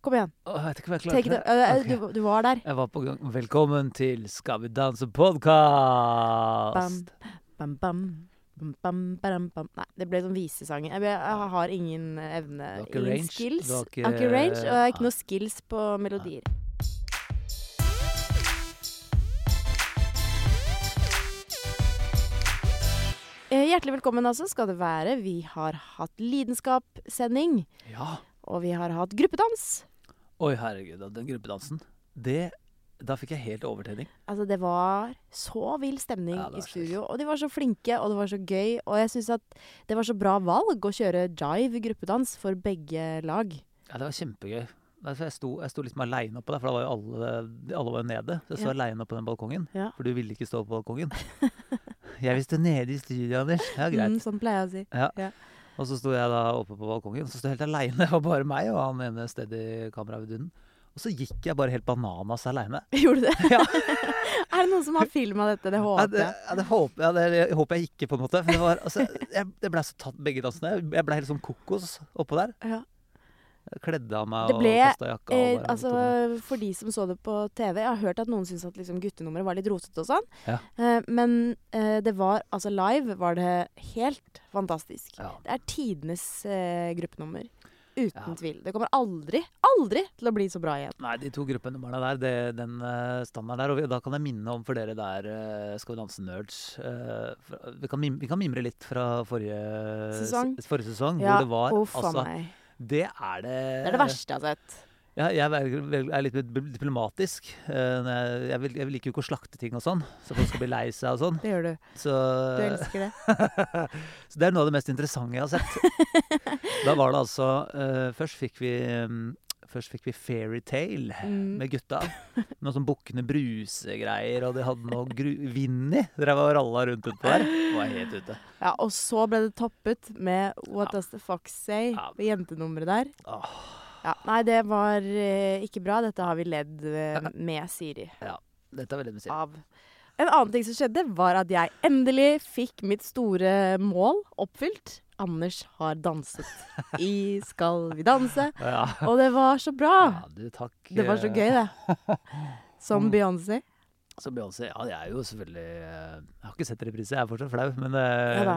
Kom igjen. Åh, jeg vet ikke om jeg Take it, klarte det. eh, Ok. du, du var der. Jeg var på gang. Velkommen til Skal vi danse podkast! Bam, bam. Bam, bam, badam, bam. Nei, det ble sånn visesang. Jeg, ble- jeg har ingen evne, Du har ikke ingen range, skills. du har ikke- Jeg har ikke range, og jeg har ikke Nei. noe skills på melodier. Eh, Hjertelig velkommen altså skal det være. Vi har hatt lidenskapssending, Ja. og vi har hatt gruppedans. Oi, herregud, og den gruppedansen. Det Da fikk jeg helt overtenning. Altså, det var så vill stemning Ja, det var i sjukt. studio. Og de var så flinke, og det var så gøy. Og jeg syns at det var så bra valg å kjøre jive gruppedans for begge lag. Ja, det var kjempegøy. Derfor jeg sto, jeg sto liksom aleine oppå der, for da var jo alle, alle var jo nede. Så jeg sto Ja. alene oppå den balkongen, Ja. for du ville ikke stå på balkongen. jeg vil stå nede i studio, Anders. Ja, greit. Mm, sånn pleier jeg å si. Og så sto jeg da oppe på balkongen, og så sto jeg helt aleine. Det var bare meg og han ene steadykameravidunden. Og så gikk jeg bare helt bananas aleine. Gjorde du det? Ja. er det noen som har filma dette? Det Ja, håper det, jeg. ja, det håper jeg, det, jeg håper jeg ikke, på en måte. For det var, altså, jeg, det ble så tatt begge dansene. Jeg ble helt sånn kokos oppå der. Ja. Jeg kledde av meg Det ble, og kasta jakka. Eh, og bare altså, tok den. for de som så det på TV, jeg har hørt at noen syntes at liksom, guttenummeret var litt rotete og sånn. Ja. Eh, men eh, det var altså live var det helt fantastisk. ja. Det er tidenes eh, gruppenummer. Uten Ja. tvil. Det kommer aldri, aldri til å bli så bra igjen. Nei, de to gruppenumrene der, det, den eh, standarden der. Og vi, da kan jeg minne om for dere der, eh, Skal vi danse nerds eh, fra- vi, kan mim, vi kan mimre litt fra forrige Sesong. s- Forrige sesong Ja, Mm. hvor det var Å, faen altså, meg. Det er det Det er det verste jeg har sett. Ja, jeg velger- vel- er litt bl- diplomatisk. eh, når Jeg, jeg, vil, jeg liker jo ikke å slakte ting og sånn, så folk skal bli lei seg og sånn. Det gjør du. Så, Du elsker det. så det er noe av det mest interessante jeg har sett. Da var det altså eh, Først fikk vi um, Først fikk vi Fairytale Mm. Eh, med gutta. Noe sånn Bukkene Bruse-greier, og de hadde noe gru... Vinni drev og ralla rundt utpå der. Var helt ute. Ja, og så ble det toppet med What Ja. Does The Fox Say? Ja. Med jentenummeret der. Åh, Ja, nei, det var eh, ikke bra. Dette har vi ledd eh, med Siri dette er veldig musikk. av. En annen ting som skjedde, var at jeg endelig fikk mitt store mål oppfylt. Anders har danset i Skal vi danse. Ja. Og det var så bra! ja, Mm. du, takk. Ah. eh, Det var så gøy, det. Som Beyoncé. Så Beyoncé Ja, jeg er jo selvfølgelig eh, Jeg har ikke sett reprise, jeg er fortsatt flau, men eh, Ja da.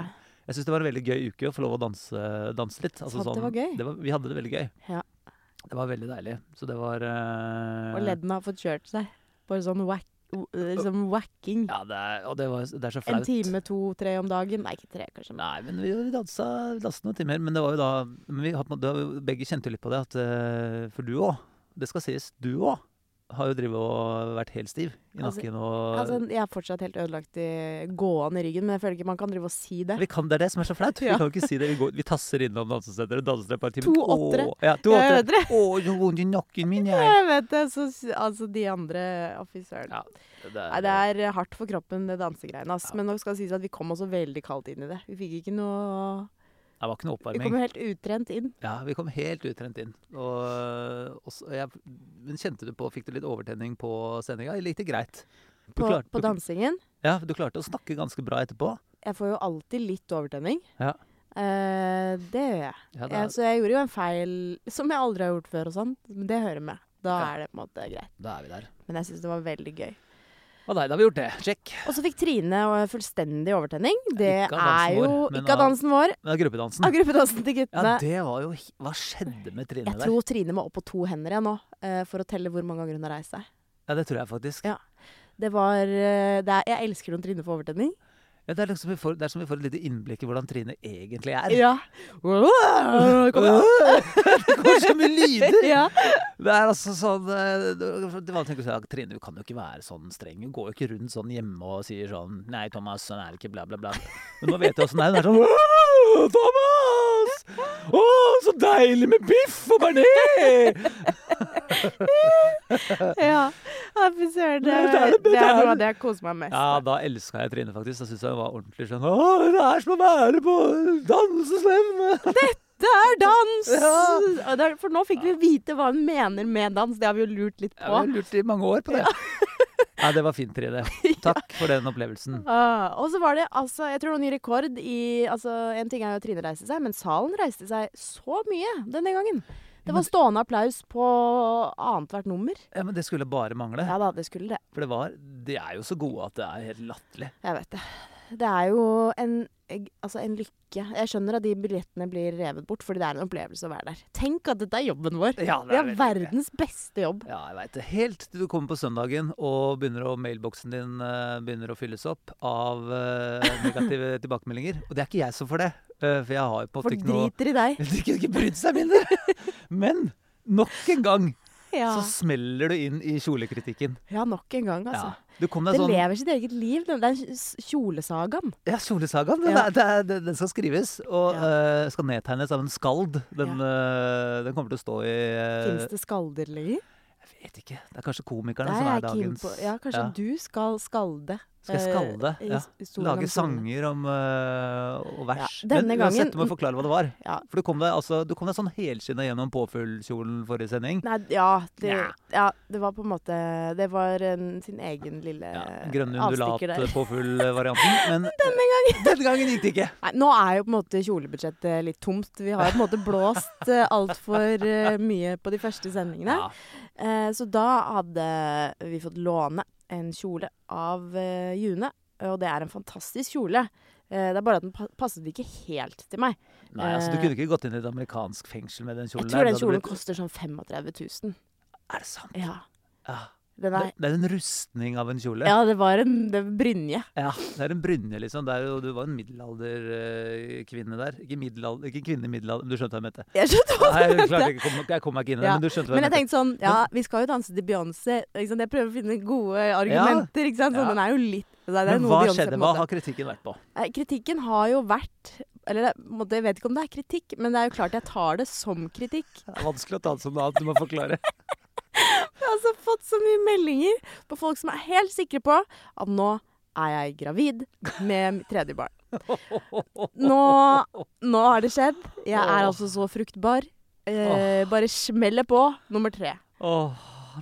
Jeg syns det var en veldig gøy uke å få lov å danse, danse litt. Altså, Sant, det var gøy. det var- vi hadde det veldig gøy. Ja. Det var veldig deilig. Så det var eh, Og leddene har fått kjørt seg. Bare sånn whack, o- liksom whacking. Ja, det er, og det, var, det er så flaut. En time, to-tre om dagen. Nei, ikke tre, kanskje. men- Nei, men vi, vi dansa, vi dansa noen timer. Men det var jo da men vi, har på en måte- det var jo- Begge kjente jo litt på det, at eh, for du òg, det skal sies, du òg har jo drevet og vært helt stiv i Altså, nakken og Altså, jeg er fortsatt helt ødelagt i gående i ryggen, men jeg føler ikke man kan drive og si det. vi kan, det er det som er så flaut. Vi Ja. kan jo ikke si det. Vi, går, vi tasser innom dansesenteret og danser et par timer. To Åh, åttere. Ja, to Jeg åttere. vet det. Å, så vondt i nakken min, jeg. Jeg vet det. Så, s- altså, de andre Ja, offisørene. det er, Nei, det er hardt for kroppen, det dansegreiene. ass. Ja. Men nå skal det sies at vi kom også veldig kaldt inn i det. Vi fikk ikke noe det var ikke noe Vi oppvarming. kom jo helt utrent inn. Ja, vi kom helt utrent inn. Og, og så, jeg, men kjente du på Fikk du litt overtenning på sendinga? Eller gikk det greit? Du På, klarte- på du- dansingen. Ja, for du klarte å snakke ganske bra etterpå. Jeg får jo alltid litt overtenning. Ja. Eh, det gjør jeg. Ja, da, Eh, så jeg gjorde jo en feil som jeg aldri har gjort før, og sånn. Men det hører med. Da Ja. er det på en måte greit. da er vi der. Men jeg syns det var veldig gøy. Å nei, da har vi gjort det. Sjekk. Og så fikk Trine og fullstendig overtenning. Det Ikke av dansen er jo vår, men ikke av av- dansen vår, Men gruppedansen. av gruppedansen til Ja, guttene. det var jo hi- Hva skjedde med Trine jeg der? tror Trine må opp på to hender jeg nå eh, for å telle hvor mange ganger hun har reist seg. Ja, det tror jeg faktisk. Ja. Det var eh, det er, Jeg elsker når Trine får overtenning. Ja, det, er liksom vi får, det er som vi får et lite innblikk i hvordan Trine egentlig er. Ja. Kom igjen. det går så mye lyder! ja. Det er altså sånn eh, det- Det var tenkt å si at Trine, du kan jo ikke være sånn streng. Hun går jo ikke rundt sånn hjemme og sier sånn Nei, Thomas, sånn er det ikke, bla, bla, bla. Men nå vet jeg åssen det er. Hun er sånn «Wow, Thomas! Å, så deilig med biff og bearnés! ja. ja fy søren. Det, Det er det- det det er er- noe av det jeg koser meg mest Ja, med. da elska jeg Trine, faktisk. Da syntes jeg hun var ordentlig sånn Å, det er som å være på danseslem! Det er dans! Ja. Og det er- For nå fikk vi vite hva hun mener med dans. Det har vi jo lurt litt Jeg har på. lurt i mange år på det. Nei, det var fint, Trine. Takk for den opplevelsen. Ah, og så var det altså Jeg tror det var ny rekord i altså, En ting er jo at Trine reiste seg, men salen reiste seg så mye denne gangen. Det var stående applaus på annethvert nummer. Ja, men det skulle bare mangle. Ja da, det skulle det. For det var De er jo så gode at det er helt latterlig. Jeg vet det. Det er jo en, altså en lykke. Jeg skjønner at de billettene blir revet bort, fordi det er en opplevelse å være der. Tenk at dette er jobben vår. Ja, det Vi er har veldig gøy. verdens beste jobb. Ja, jeg veit det. Helt til du kommer på søndagen og begynner å, mailboksen din eh, begynner å fylles opp av eh, negative tilbakemeldinger. Og det er ikke jeg som får det, eh, for jeg har jo på en måte Folk ikke noe driter i deg. De kunne ikke brydd seg mindre! Men nok en gang Ja, så smeller du inn i kjolekritikken. ja nok en gang, altså. Ja. Du kom Det deg sånn lever sitt eget liv, den den s- kjolesagaen. Ja, kjolesagaen. Den, Ja. er- det er- det- den skal skrives. Og Ja. eh, skal nedtegnes av en skald. Den, eh, den kommer til å stå i eh, Fins det skalder lenger? Jeg vet ikke. Det er kanskje komikerne Der er som er jeg keen dagens på. Ja, kanskje Ja. du skal skalde. Skal jeg eh, skalde? i Ja. s- i stolen om Lage solen. sanger om, eh, og vers. Ja, denne Men uansett, gangen- du må forklare hva det var. Ja. For du kom deg, altså, du kom deg sånn helskinna gjennom påfuglkjolen forrige sending. Nei, ja det, Nja. ja. Det var på en måte Det var en, sin egen lille Ja, eh, grønne avstikker der. undulat-påfuglvarianten. Men denne gangen. denne gangen gikk det ikke. Nei, nå er jo på en måte kjolebudsjettet litt tomt. Vi har jo på en måte blåst eh, altfor eh, mye på de første sendingene. Ja. Eh, så da hadde vi fått låne en kjole av eh, June, og det er en fantastisk kjole. Eh, det er bare at den pa passet ikke helt til meg. Nei, altså, du Eh, kunne ikke gått inn i et amerikansk fengsel med den Jeg kjolen. der, tror den da hadde kjolen du blitt- koster sånn 35 000. Er det sant? Ja. Ja. Den er, Det, det er en rustning av en kjole. ja, det var en det var brynje. Ja, det er en brynje, liksom. Det er jo, du var en middelalderkvinne der. Ikke, middelalder, ikke kvinne i middelalder, men du skjønte hva jeg mente. Jeg skjønte hva Nei, du jeg, mente. klarte ikke, jeg kom- jeg kom meg ikke inn i det, Ja, men du skjønte hva Men jeg jeg mente. tenkte sånn, ja, vi skal jo danse til Beyoncé. Ikke sant? Jeg prøver å finne gode argumenter. ikke sant? Ja. Så den er jo litt det er Men noe hva Beyoncé på skjedde? en Hva måte. har kritikken vært på? Eh, Kritikken har jo vært eller det er- på en måte, Jeg vet ikke om det er kritikk, men det er jo klart jeg tar det som kritikk. Det er vanskelig å ta det som noe annet, du må forklare. Jeg har altså fått så mye meldinger på folk som er helt sikre på at nå er jeg gravid med mitt tredje barn. Nå, nå har det skjedd. Jeg er Åh. altså så fruktbar. Eh, bare smeller på nummer tre. Åh,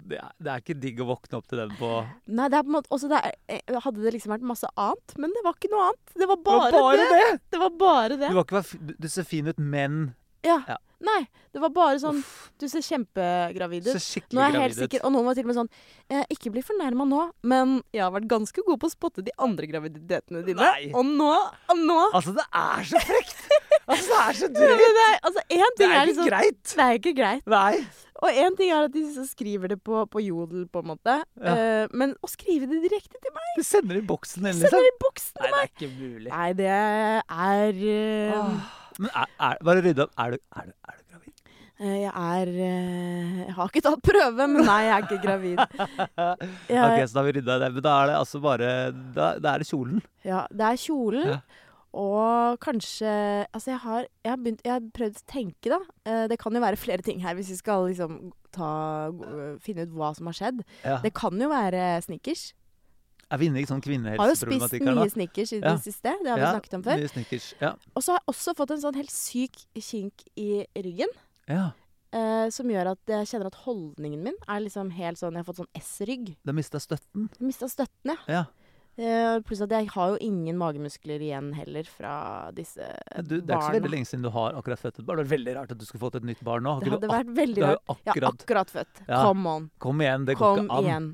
det er, det er ikke digg å våkne opp til den på Nei, det er på en måte også det er, eh, Hadde det liksom vært masse annet, men det var ikke noe annet. Det var bare, det. Det var bare det. Du, var ikke, bare fi- du- du ser fin ut, men Ja. Ja. Nei, det var bare sånn uff, Du ser kjempegravid så ut. skikkelig Nå er jeg helt gravid ut. sikker, og noen var til og med sånn eh, Ikke bli fornærma nå, men jeg har vært ganske god på å spotte de andre graviditetene dine. Nei. Og nå, og nå Altså, det er så frekt! Altså, det er så Ja, drøyt! men det er, altså, en Det ting er er ikke liksom greit! Det er ikke greit. Nei. Og én ting er at de så skriver det på, på Jodel, på en måte. Ja. Eh, men å skrive det direkte til meg, Du sender i boksen din, sender liksom. det i boksen til Nei, det meg! er ikke mulig. Nei, det er eh, Åh. Men er, er, bare rydde opp. Er du, er, du, er du gravid? eh, Jeg er eh, Jeg har ikke tatt prøve, men nei, jeg er ikke gravid. Jeg, Ok, så da har vi rydda det. Men da er det altså bare Da, da er det kjolen. Ja, det er kjolen. Ja. Og kanskje Altså, jeg har, jeg, har begynt, jeg har prøvd å tenke, da. Eh, Det kan jo være flere ting her, hvis vi skal liksom ta, gå- finne ut hva som har skjedd. Ja. Det kan jo være snickers. Er vi inne i sånn Har jo spist kvinnehelseproblematikk her nå? mye snickers i det Ja. siste. Det har vi Ja, snakket om før. Mye snickers. Ja. Og så har jeg også fått en sånn helt syk kink i ryggen. ja. eh, som gjør at jeg kjenner at holdningen min er liksom helt sånn Jeg har fått sånn S-rygg. Du har mista støtten. Jeg Mista støtten, jeg. Ja. Eh, pluss at jeg har jo ingen magemuskler igjen heller fra disse Du, det er ikke så barna. veldig lenge siden du har akkurat født et barn. Det var veldig rart at du skulle fått et nytt barn nå. Har Det ikke hadde du ak- vært veldig du har rart. jo Jeg har akkurat akkurat født. Ja. Come on. Kom igjen, det går Kom ikke an. igjen.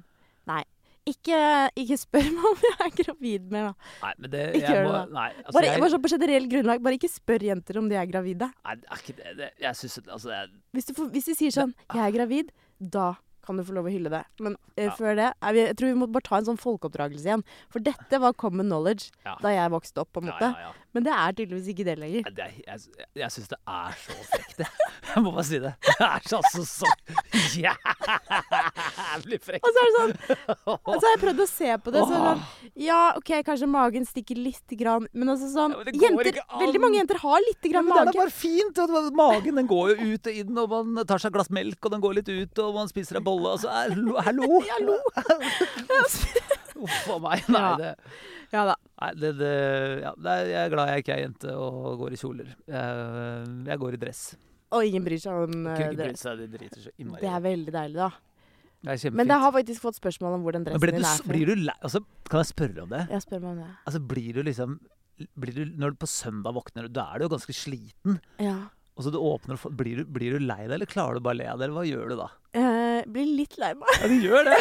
Nei. Ikke, ikke spør meg om jeg er gravid mer, da. Nei, men det, Ikke jeg gjør må, det, nei, altså, Bare, jeg, bare sånn på generell grunnlag, bare ikke spør jenter om de er gravide. nei, det er ikke det, det Jeg syns altså, det er- Hvis, du får, hvis de sier sånn 'jeg er gravid', da kan du få lov å hylle det. Men eh, Ja. før det jeg, jeg tror vi må bare ta en sånn folkeoppdragelse igjen. For dette var common knowledge Ja. da jeg vokste opp, på en Ah. ja, måte. ja, ja. Men det er tydeligvis ikke det lenger. Nei, Det er, jeg jeg syns det er så frekt, det. Jeg må bare si det. Det er så- altså så jævlig frekt. Og så er det sånn Og så har jeg prøvd å se på det. Så er det sånn, ja, OK, kanskje magen stikker litt, grann, men altså sånn Ja, men det går jenter, ikke an. Veldig mange jenter har litt Ja, grann men det er da mage. bare fint. Og det- magen den går jo ut og inn, og man tar seg et glass melk, og den går litt ut, og man spiser en bolle. Altså, hallo! hallo. Uff a meg. Nei, Ja. det, Ja da. nei det, det, ja, det er, jeg er glad jeg ikke er jente og går i kjoler. Jeg, jeg går i dress. Og ingen bryr seg om eh, Kunne ikke det. brydd seg, de driter så innmari. i Det er Det veldig deilig, da. Det er kjempefint. Men jeg har faktisk fått spørsmål om hvor den Men dressen blir din du, er s- fra. blir du lei altså, Kan jeg spørre om det? Jeg spør meg om det. Altså, blir du liksom blir du, Når du på søndag våkner, da er du jo ganske sliten. Ja. Og så du åpner, og får- blir du, blir du lei deg, eller klarer du bare å le av det? eller Hva gjør du da? Eh, blir litt lei meg. Ja, du gjør det!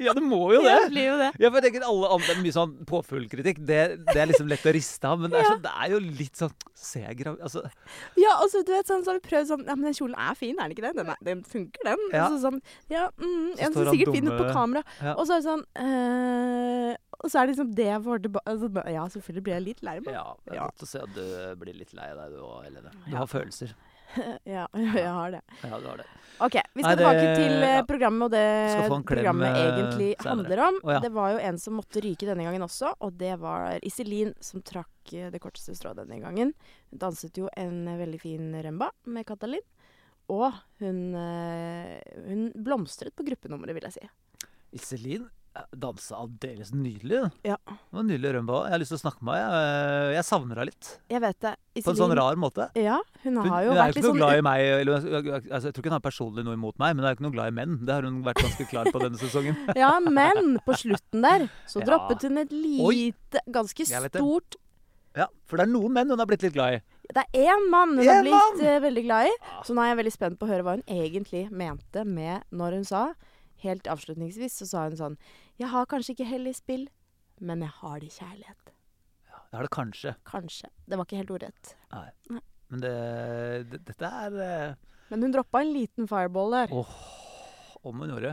Ja, du må jo det! Jeg blir jo det. Ja, for jeg tenker alle andre, Mye sånn påfuglkritikk, det, det er liksom lett å riste av, men det er, sånn, det er jo litt sånn Ser jeg gravid altså, Ja, og så du vet sånn, så har vi prøvd sånn Ja, men den kjolen er fin, er den ikke det? Den, er, den funker, den. Ja. Og så sånn Ja, mm, Så en står ser han sikkert fin ut på dumme- kamera. Ja. Og så er det sånn eh, Og så er det liksom det jeg får tilbake altså, ba- Ja, selvfølgelig blir jeg litt lei meg. Ja, det er Ja. godt å se at du blir litt lei deg, du òg, Helene. Du har følelser. Ja, jeg har det. Ja, du har det. OK, vi Nei, skal det- tilbake til eh, ja. programmet og Skal få en det klem, programmet eh, egentlig senere. handler om. Å, ja. Det var jo en som måtte ryke denne gangen også, og det var Iselin som trakk eh, det korteste strået denne gangen. Hun danset jo en eh, veldig fin remba med Katalin. Og hun, eh, hun blomstret på gruppenummeret, vil jeg si. Iselin eh, dansa aldeles nydelig. hun. Ja. Det var en Nydelig rømba. Jeg har lyst til å snakke med henne. jeg. Eh, Jeg savner henne litt. Jeg vet det. På en sånn rar måte. Ja, hun Hun, har jo hun er jo vært ikke litt noe sånn glad i meg. Eller, altså, jeg tror ikke hun har personlig noe imot meg, men hun er jo ikke noe glad i menn. Det har hun vært ganske klar på denne sesongen. Ja, men på slutten der så Ja. droppet hun et lite, ganske Jeg vet det. stort Ja, For det er noen menn hun har blitt litt glad i. Det er én mann hun har Én blitt eh, veldig glad i. Så nå er jeg veldig spent på å høre hva hun egentlig mente med når hun sa Helt avslutningsvis så sa hun sånn Jeg har kanskje ikke hell i spill, men jeg har det i kjærlighet. Det har det kanskje. Kanskje. Det var ikke helt ordrett. Men det, det, dette er eh, Men hun droppa en liten fireball der. om hun gjorde.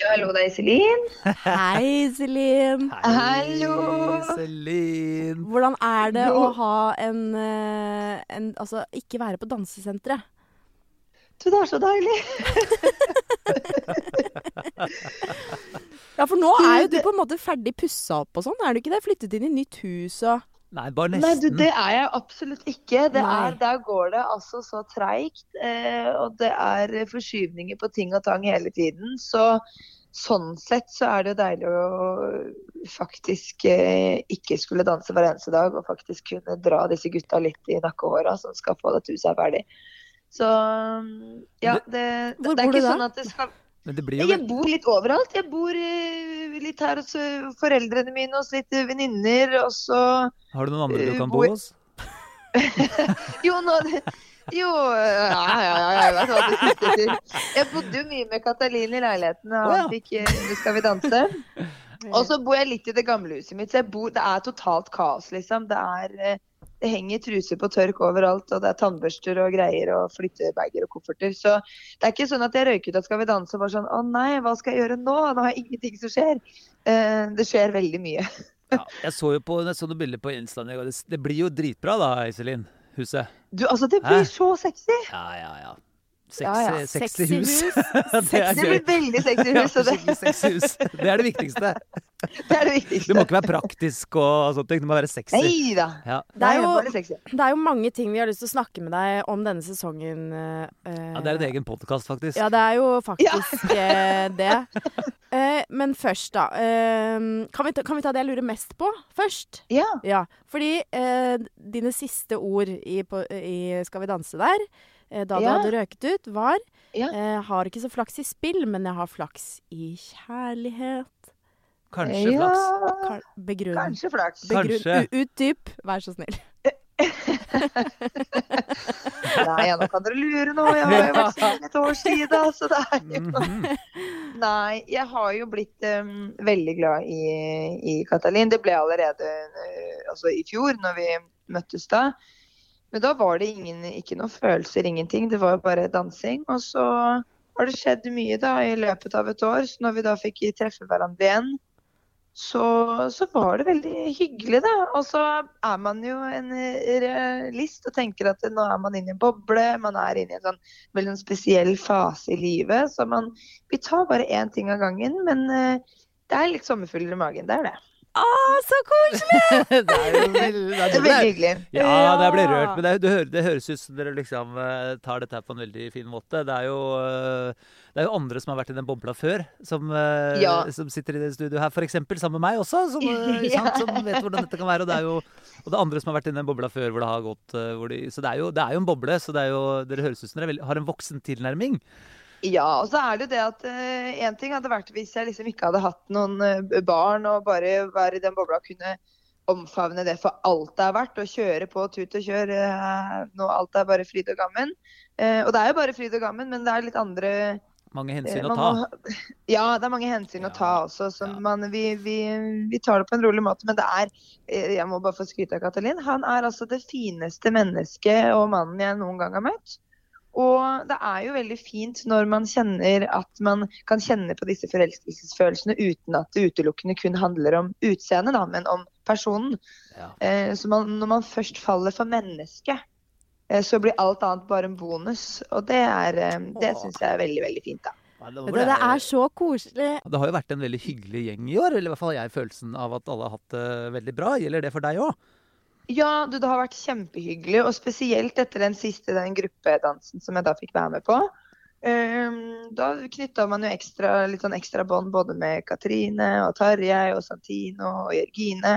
Ja, hallo, det er Iselin. Hei, Iselin. Hallo! Iselin. Hvordan er det å Jo. ha en, eh, en Altså ikke være på dansesenteret? Du, det er så deilig. Ja, for nå er jo Du, du det- på en måte ferdig pussa opp og sånn, er du ikke det? Flyttet inn i nytt hus og Nei, bare Nei, du, nesten. det er jeg absolutt ikke. Det Nei. er, der går det altså så treigt. Eh, og det er forskyvninger på ting og tang hele tiden. Så sånn sett så er det jo deilig å faktisk eh, ikke skulle danse hver eneste dag. Og faktisk kunne dra disse gutta litt i nakkehåra som skal få dette huset her ferdig. Så mm, ja, det, Hvor bor det er du ikke da? sånn at det skal Men det blir jo Jeg bor litt overalt. Jeg bor eh, litt her hos eh, foreldrene mine, hos litt eh, venninner. Og så Har du noen andre du Eh, kan bo hvor- hos? Jo, nå Jo, ja, ja, ja, jeg vet hva du sikter til. Jeg bodde jo mye med Katalin i leiligheten. Og Å, ja. han fikk eh, Nå Skal vi danse? Og så bor jeg litt i det gamle huset mitt. Så jeg bor, det er totalt kaos, liksom. Det er eh, det henger truser på tørk overalt, og det er tannbørster og greier og flyttebager og kofferter. Så det er ikke sånn at jeg røyk ut av Skal vi danse og var sånn Å nei, hva skal jeg gjøre nå? Nå har jeg ingenting som skjer. Eh, det skjer veldig mye. Ja, jeg så jo på jeg så noen bilder på Insta. og Det, det blir jo dritbra da, Iselin. Huset. Du, altså, det Hæ? blir så sexy. Ja, ja, ja. eh, Sexy, Ja, ja. sexy hus. det sexy er Det gøy. blir veldig sexy Ja, hus, og det, skikkelig sexy hus. Det er det viktigste. det Det er det må viktigste. ikke være praktisk og sånt. Det må være sexy. Nei da. Ja. Det er jo- bare sexy. Det er jo mange ting vi har lyst til å snakke med deg om denne sesongen. eh, Ja, det er en egen podkast, faktisk. Ja, det er jo faktisk eh, det. Eh, men først, da. eh, kan, vi ta, kan vi ta det jeg lurer mest på først? Ja. Ja, fordi eh, dine siste ord i, på, i Skal vi danse der, eh, da du Ja. hadde røket ut, var Ja. eh, Har ikke så flaks i spill, men jeg har flaks i kjærlighet. Kanskje flaks. Ja, Kar- Begrunn. kanskje flaks. Begrunn. Kanskje. U- Utdyp, vær så snill. Nei, ja, nå kan dere lure nå. Jeg har jo vært singel et år siden. Så det er jo Mhm. Nei, jeg har jo blitt em, veldig glad i, i Katalin. Det ble jeg allerede eh, altså, i fjor, når vi møttes da. Men da var det ingen, ikke noen følelser, ingenting. Det var bare dansing. Og så har det skjedd mye da i løpet av et år. Så når vi da fikk treffe hverandre igjen, så, så var det veldig hyggelig, da. Og så er man jo en realist og tenker at nå er man inne i en boble. Man er inne i en sånn veldig spesiell fase i livet. Så man vi tar bare én ting av gangen, men eh, det er litt sommerfugler i magen. Det er det. Å, så koselig! Det er jo veldig- det Det er ble- veldig hyggelig. Ja, det ble Ja. rørt. Men det, du hører, det høres ut som dere liksom eh, tar dette her på en veldig fin måte. Det er jo, eh, det er jo andre som har vært i den bobla før, som, eh, Ja. som sitter i det studio her f.eks. sammen med meg også, som, eh, ikke sant, som vet hvordan dette kan være. Og det er jo og det er andre som har vært i den bobla før hvor det har gått eh, hvor de, Så det er, jo, det er jo en boble, så det er jo, dere høres ut som dere er veldig- har en voksen tilnærming. Ja, og så er det jo det at eh, én ting hadde vært hvis jeg liksom ikke hadde hatt noen eh, barn og bare være i den bobla og kunne omfavne det for alt det er verdt, og kjøre på tut og kjør eh, nå alt er bare fryd og gammen. Eh, og det er jo bare fryd og gammen, men det er litt andre Mange eh, hensyn å man ta. må ha- Ja, det er mange Ja, hensyn å ta også. Så ja. man, vi, vi, vi tar det på en rolig måte. Men det er eh, Jeg må bare få skryte av Katalin. Han er altså det fineste mennesket og mannen jeg noen gang har møtt. Og det er jo veldig fint når man kjenner at man kan kjenne på disse forelskelsesfølelsene uten at det utelukkende kun handler om utseendet, da, men om personen. Ja. Eh, så man, når man først faller for mennesket, eh, så blir alt annet bare en bonus. Og det, er, eh, det Åh. syns jeg er veldig, veldig fint, da. Ja, det, Vet du, det er så koselig. det har jo vært en veldig hyggelig gjeng i år. Eller i hvert fall har jeg følelsen av at alle har hatt det veldig bra. Gjelder det for deg òg? Ja, du, det har vært kjempehyggelig, og spesielt etter den siste den gruppedansen som jeg da fikk være med på. Ehm, da knytta man jo ekstra, litt sånn ekstra bånd både med Katrine og Tarjei og Santino og Jørgine.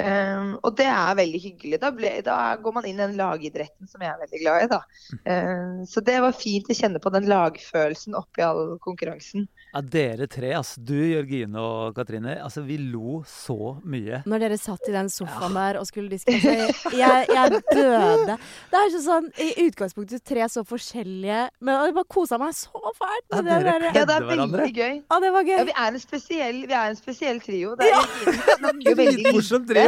Ehm, og det er veldig hyggelig. Da, ble, da går man inn i den lagidretten som jeg er veldig glad i. da. Ehm, så det var fint å kjenne på den lagfølelsen oppi all konkurransen. Ja, dere tre, altså. Du, Jørgine og Katrine. Altså, vi lo så mye. Når dere satt i den sofaen der og skulle diske så jeg, jeg, jeg døde. Det er sånn sånn i utgangspunktet tre så forskjellige Men jeg bare kosa meg så fælt Ja, med det dere der. kan- Ja, det er Kjenner hverandre. veldig gøy. Ja, det var gøy. Ja, vi er en spesiell, vi er en spesiell trio. Det er Jørgine som snakker veldig lite. Dritmorsomt trio.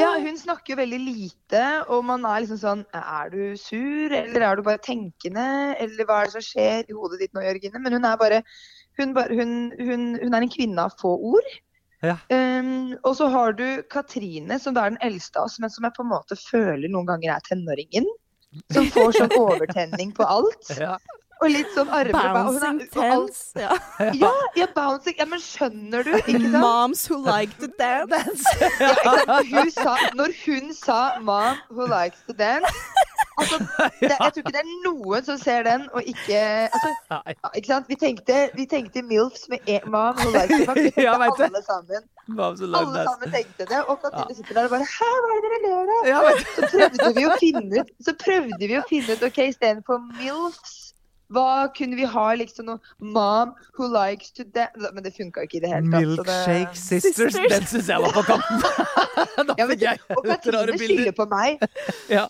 Ja, hun snakker jo veldig lite, og man er liksom sånn Er du sur, eller er du bare tenkende, eller hva er det som skjer i hodet ditt nå, Jørgine? Men hun er bare Hun, bare- hun, hun, hun er en kvinne av få ord. Ja. Ehm, og så har du Katrine, som da er den eldste av oss, men som jeg på en måte føler noen ganger er tenåringen. Som får sånn overtenning på alt. Ja. Og litt sånn armer. og hun er- Bouncing og alt- tents. Ja. Ja, ja, bouncing. Ja, men skjønner du? Ikke sant? Moms who like to dance. Ja, ikke sant? Når hun sa, når hun sa 'mom who likes to dance' altså, det, Jeg tror ikke det er noen som ser den og ikke altså, Nei. ja, Ikke sant? Vi tenkte, vi tenkte MILFs med e 'mom who likes to dance'. Ja, vet du. alle sammen. Hva om så lang Alle det er? sammen tenkte det. Og Katrine sitter der og bare 'hæ, hva er det dere ler av?' Ja, vet du. Så prøvde vi å finne ut, så prøvde vi å finne ut ok, istedenfor MILFs hva kunne vi ha liksom noe 'mom who likes to dance'? Men det funka ikke i det hele tatt. så det- Milkshake Sisters. Sisters. Den syns jeg var på kanten. da Ja, men- fikk jeg Og rare Katrine bilder. skylder på meg. Ja,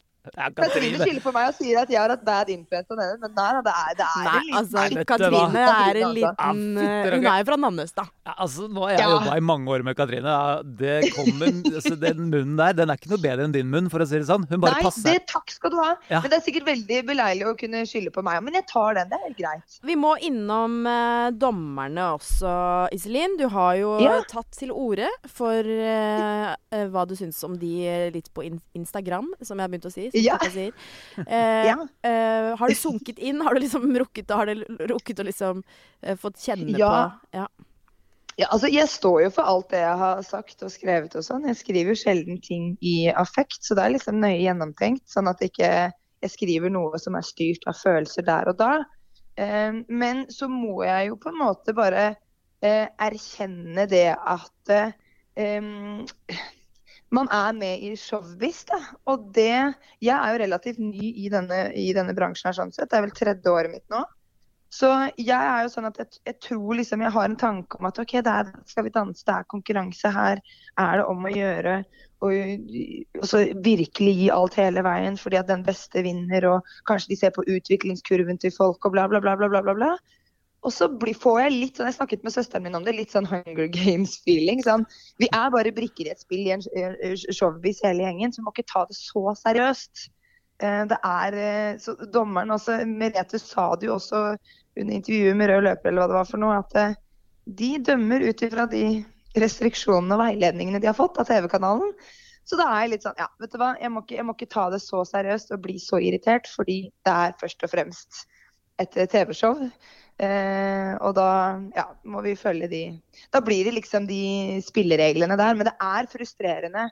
Katrine skylder på meg og sier at jeg har hatt bad influence av henne, men nei da, det er, det er Nei, en liten- altså, Nei, vet du hva? Katrine er en Ja, liten fytter, Hun ok. er jo fra Namnes, da. Ja, Altså, nå har jeg Ja. jobba i mange år med Katrine. Ja, Det kommer, altså, den munnen der den er ikke noe bedre enn din munn, for å si det sånn. Hun bare Nei, passer. det, takk skal du ha. Ja. Men det er sikkert veldig beleilig å kunne skylde på meg. Men jeg tar den, det er helt greit. Vi må innom eh, dommerne også, Iselin. Du har jo Ja. tatt til orde for eh, eh, hva du syns om de eh, litt på in Instagram, som jeg har begynt å si. som Ja. pappa Sier. Eh, Ja. eh, har du sunket inn? Har du liksom rukket, har du rukket å liksom eh, fått kjenne Ja. på ja. Ja, altså, jeg står jo for alt det jeg har sagt og skrevet og sånn. Jeg skriver jo sjelden ting i affekt, så det er liksom nøye gjennomtenkt. Sånn at ikke jeg skriver noe som er styrt av følelser der og da. Eh, Men så må jeg jo på en måte bare eh, erkjenne det at eh, em, man er med i showbiz, da. Og det Jeg er jo relativt ny i denne, i denne bransjen her, sånn sett. Det er vel tredje året mitt nå. Så jeg er jo sånn at jeg, jeg tror liksom jeg har en tanke om at OK, der skal vi danse, det er konkurranse her. Er det om å gjøre å og så virkelig gi alt hele veien fordi at den beste vinner, og kanskje de ser på utviklingskurven til folk og bla, bla, bla, bla, bla, bla. bla. Og så blir, får jeg litt sånn, jeg snakket med søsteren min om det, litt sånn Hunger Games-feeling. Sånn. Vi er bare brikker i et spill i en eh, showbiz hele gjengen, så vi må ikke ta det så seriøst. Eh, Det er, eh, så dommeren også, Merete sa det jo også under intervjuet med Rød Løper, eller hva det var for noe, at eh, de dømmer ut ifra de restriksjonene og veiledningene de har fått av TV-kanalen. Så da er jeg litt sånn, ja, vet du hva, jeg må, ikke, jeg må ikke ta det så seriøst og bli så irritert, fordi det er først og fremst et TV-show. Eh, og da ja, må vi følge de Da blir det liksom de spillereglene der. Men det er frustrerende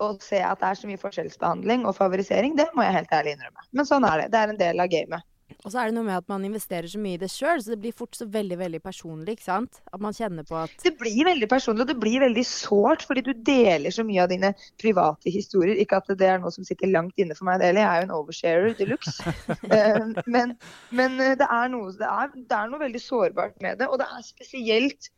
å se at det er så mye forskjellsbehandling og favorisering. Det må jeg helt ærlig innrømme. Men sånn er det. Det er en del av gamet. Og så er det noe med at man investerer så mye i det sjøl, så det blir fort så veldig veldig personlig. ikke sant? At man kjenner på at Det blir veldig personlig, og det blir veldig sårt, fordi du deler så mye av dine private historier. Ikke at det er noe som sitter langt inne for meg, det heller. Jeg er jo en oversharer de luxe. Eh, men men eh, det, er noe, det, er, det er noe veldig sårbart med det. Og det er spesielt